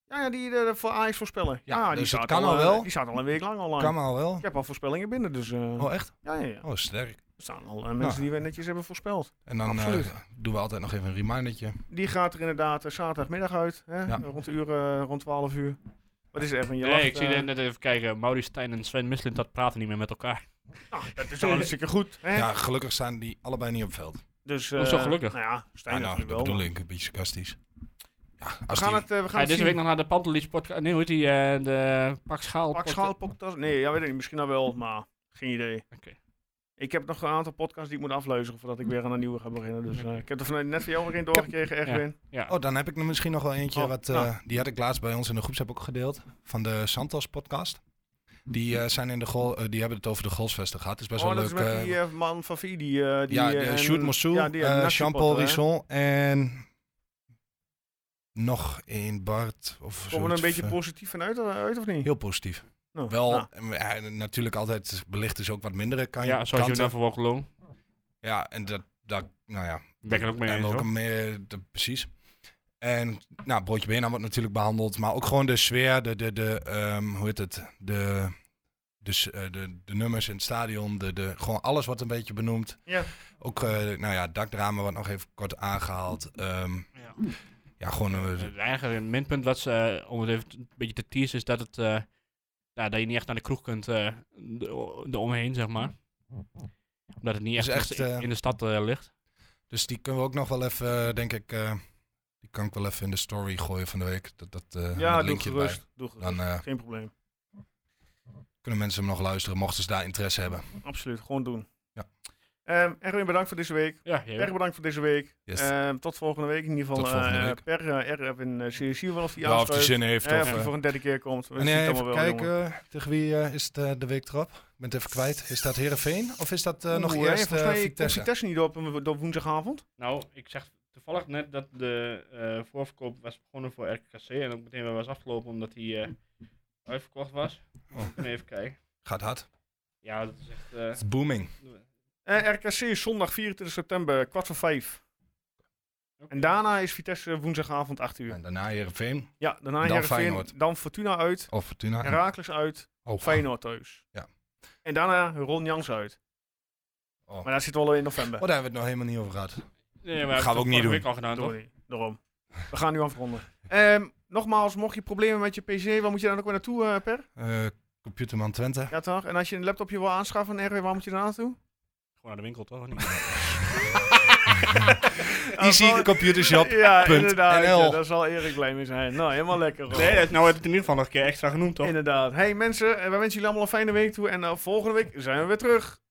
Speaker 1: Ja, ja die eh, voor Ajax voorspellen.
Speaker 5: Ja,
Speaker 1: die
Speaker 5: dus het
Speaker 1: staat
Speaker 5: kan al
Speaker 1: eh,
Speaker 5: wel.
Speaker 1: Die staat al een week lang online.
Speaker 5: Kan al wel.
Speaker 1: Ik heb al voorspellingen binnen, dus... eh,
Speaker 5: Oh, Nou. echt?
Speaker 1: Ja, ja, ja.
Speaker 5: Oh, sterk.
Speaker 1: Er staan al eh, mensen die we netjes hebben voorspeld.
Speaker 5: En dan eh,
Speaker 1: Absoluut.
Speaker 5: doen we altijd nog even een remindertje.
Speaker 1: Die gaat er inderdaad eh, zaterdagmiddag uit. Hè?
Speaker 5: Ja.
Speaker 1: Rond de uur, eh, rond 12 uur. Wat is er even? Je
Speaker 4: Nee,
Speaker 1: lacht,
Speaker 4: ik zie
Speaker 1: eh,
Speaker 4: net even kijken. Maurice Stijn en Sven Mislint, dat praten niet meer met elkaar.
Speaker 1: nou, dat is al hartstikke goed. Hè?
Speaker 5: Ja, gelukkig staan die allebei niet op veld.
Speaker 1: Dus,
Speaker 4: Oh, zo
Speaker 1: eh,
Speaker 4: gelukkig.
Speaker 1: Nou ja, Stijn
Speaker 5: Ah, nou,
Speaker 1: natuurlijk
Speaker 5: dat
Speaker 1: wel.
Speaker 5: bedoel ik, een beetje sarcastisch. Ja,
Speaker 1: We
Speaker 5: als
Speaker 1: gaan
Speaker 5: die-
Speaker 1: het, eh, we gaan
Speaker 4: Ga je
Speaker 1: het
Speaker 4: deze
Speaker 1: zien.
Speaker 4: week nog naar de Pantelis podcast? Nee, hoe heet die? eh, de Pak Schaal
Speaker 1: Pak
Speaker 4: podcast?
Speaker 1: schaal, podcast? Nee, ja, weet ik niet. Misschien nou wel, maar geen idee.
Speaker 4: Oké.
Speaker 1: Ik heb nog een aantal podcasts die ik moet afleuzen voordat ik weer aan een nieuwe ga beginnen. Dus eh,
Speaker 4: Oké.
Speaker 1: ik heb er vanuit net van jou weer een doorgekregen, Erwin.
Speaker 4: Ja.
Speaker 5: Oh, dan heb ik er misschien nog wel eentje.
Speaker 1: Oh,
Speaker 5: wat, eh,
Speaker 1: nou.
Speaker 5: Die had ik laatst bij ons in de groepsapp ook gedeeld. Van de Santos podcast. Die, eh, zijn in de goal, eh, die hebben het over de goalsvesten gehad. Het is best
Speaker 1: oh,
Speaker 5: wel
Speaker 1: dat
Speaker 5: leuk.
Speaker 1: is met
Speaker 5: eh,
Speaker 1: die eh, man van Vie, die... eh, die
Speaker 5: ja,
Speaker 1: eh,
Speaker 5: de
Speaker 1: en-
Speaker 5: Sjoerd Mossou,
Speaker 1: ja, die, eh,
Speaker 5: eh,
Speaker 1: nazi-potter,
Speaker 5: Jean-Paul
Speaker 1: hè.
Speaker 5: Risson en nog één Bart. Of
Speaker 1: Komen we er een
Speaker 5: zoiets.
Speaker 1: beetje positief van uit, eh, uit of niet?
Speaker 5: Heel positief.
Speaker 1: Nou,
Speaker 5: Wel,
Speaker 1: nou,
Speaker 5: eh, eh, natuurlijk altijd belicht is ook wat mindere kan,
Speaker 4: ja, zoals je
Speaker 5: kanten.
Speaker 4: net voor Walk Alone.
Speaker 5: Ja, en dat, dat nou ja,
Speaker 4: Ben ik er ook mee eens,
Speaker 5: En ook
Speaker 4: hoor.
Speaker 5: een meer, de- precies. En nou, broodje benen wordt natuurlijk behandeld, maar ook gewoon de sfeer, de, de, de ehm, hoe heet het, de, dus, eh, de, de nummers in het stadion, de, de, gewoon alles wat een beetje benoemd.
Speaker 1: Ja.
Speaker 5: Ook, eh, nou ja, het dakdrama wordt nog even kort aangehaald. Ehm,
Speaker 4: Ja.
Speaker 5: ja, gewoon, eh,
Speaker 4: Het eigenlijk een minpunt wat ze, eh, om het even t- een beetje te teasen, is dat, het, eh, nou, dat je niet echt naar de kroeg kunt eh, de- eromheen, zeg maar. Omdat het niet
Speaker 5: Dus
Speaker 4: echt,
Speaker 5: echt,
Speaker 4: in,
Speaker 5: eh,
Speaker 4: in de stad eh, ligt.
Speaker 5: dus die kunnen we ook nog wel even, eh, denk ik, eh, die kan ik wel even in de story gooien van de week. Dat, dat, eh,
Speaker 1: ja,
Speaker 5: dat
Speaker 1: doe
Speaker 5: linkje erbij.
Speaker 1: gerust. Doe gerust.
Speaker 5: Dan eh,
Speaker 1: Geen probleem.
Speaker 5: kunnen mensen hem nog luisteren, mochten ze daar interesse hebben.
Speaker 1: Absoluut, gewoon doen.
Speaker 5: Ja.
Speaker 1: Ehm, Erwin, bedankt voor deze week.
Speaker 4: Ja, jij
Speaker 1: Erg bedankt voor deze week.
Speaker 5: Yes.
Speaker 1: Ehm, tot volgende week in ieder geval.
Speaker 5: Tot volgende
Speaker 1: eh,
Speaker 5: week.
Speaker 1: Per eh, Erwin uh, zie je wel of die
Speaker 5: Ja, of die
Speaker 1: aansluit.
Speaker 5: zin heeft.
Speaker 1: Eh,
Speaker 5: of,
Speaker 1: of die
Speaker 5: eh,
Speaker 1: voor een derde keer komt. We
Speaker 5: En
Speaker 1: zien het
Speaker 5: even
Speaker 1: allemaal wel,
Speaker 5: kijken,
Speaker 1: jongen.
Speaker 5: eh, tegen wie eh, is het eh, de week erop? Ik ben het even kwijt. Is dat Herenveen of is dat eh, nog
Speaker 1: Oeh, eh,
Speaker 5: eerst
Speaker 1: volgens
Speaker 5: eh
Speaker 1: mij komt
Speaker 5: Vitesse?
Speaker 1: Vitesse niet op, eh, op woensdagavond.
Speaker 4: Nou, ik zeg toevallig net dat de eh, voorverkoop was begonnen voor RKC en ook meteen weer was afgelopen omdat hij eh, uitverkocht was.
Speaker 5: Oh.
Speaker 4: Ik ben Even kijken.
Speaker 5: Gaat hard.
Speaker 4: Ja, dat is echt...
Speaker 5: Het is booming.
Speaker 1: Eh, RKC is zondag 24 september, kwart voor vijf. En daarna is Vitesse woensdagavond 8 uur.
Speaker 5: En daarna Herenveen
Speaker 1: Ja, daarna
Speaker 5: Dan
Speaker 1: Heerenveen,
Speaker 5: Feyenoord. Ah.
Speaker 1: dan Fortuna uit,
Speaker 5: of Fortuna.
Speaker 1: Heracles uit,
Speaker 5: Oh,
Speaker 1: Feyenoord thuis.
Speaker 5: Ja.
Speaker 1: En daarna Ron Jans uit.
Speaker 5: Oh.
Speaker 1: Maar daar zitten we al in november.
Speaker 5: Oh, daar hebben we het nog helemaal niet over gehad.
Speaker 4: Nee,
Speaker 5: Gaan we ook niet doen.
Speaker 4: al gedaan,
Speaker 1: Door
Speaker 4: toch?
Speaker 1: die- daarom. We gaan nu afronden. Ehm, nogmaals, mocht je problemen met je PC, waar moet je dan ook weer naartoe, eh, Per?
Speaker 5: Eh, Computerman Twente.
Speaker 1: Ja, toch? En als je een laptopje wil aanschaffen, RW, waar moet je dan naartoe?
Speaker 4: Gewoon naar de winkel, toch? Of niet? dus,
Speaker 5: Easycomputershop.
Speaker 1: Ah, Ja,
Speaker 5: punt
Speaker 1: inderdaad.
Speaker 5: NL.
Speaker 1: Ja, daar zal Erik blij mee zijn. Nou, helemaal lekker. hoor.
Speaker 4: nee, dat, nou heb ik het in ieder geval nog een keer extra genoemd, toch?
Speaker 1: Inderdaad. Hey mensen, eh, wij wensen jullie allemaal een fijne week toe. En eh, volgende week zijn we weer terug.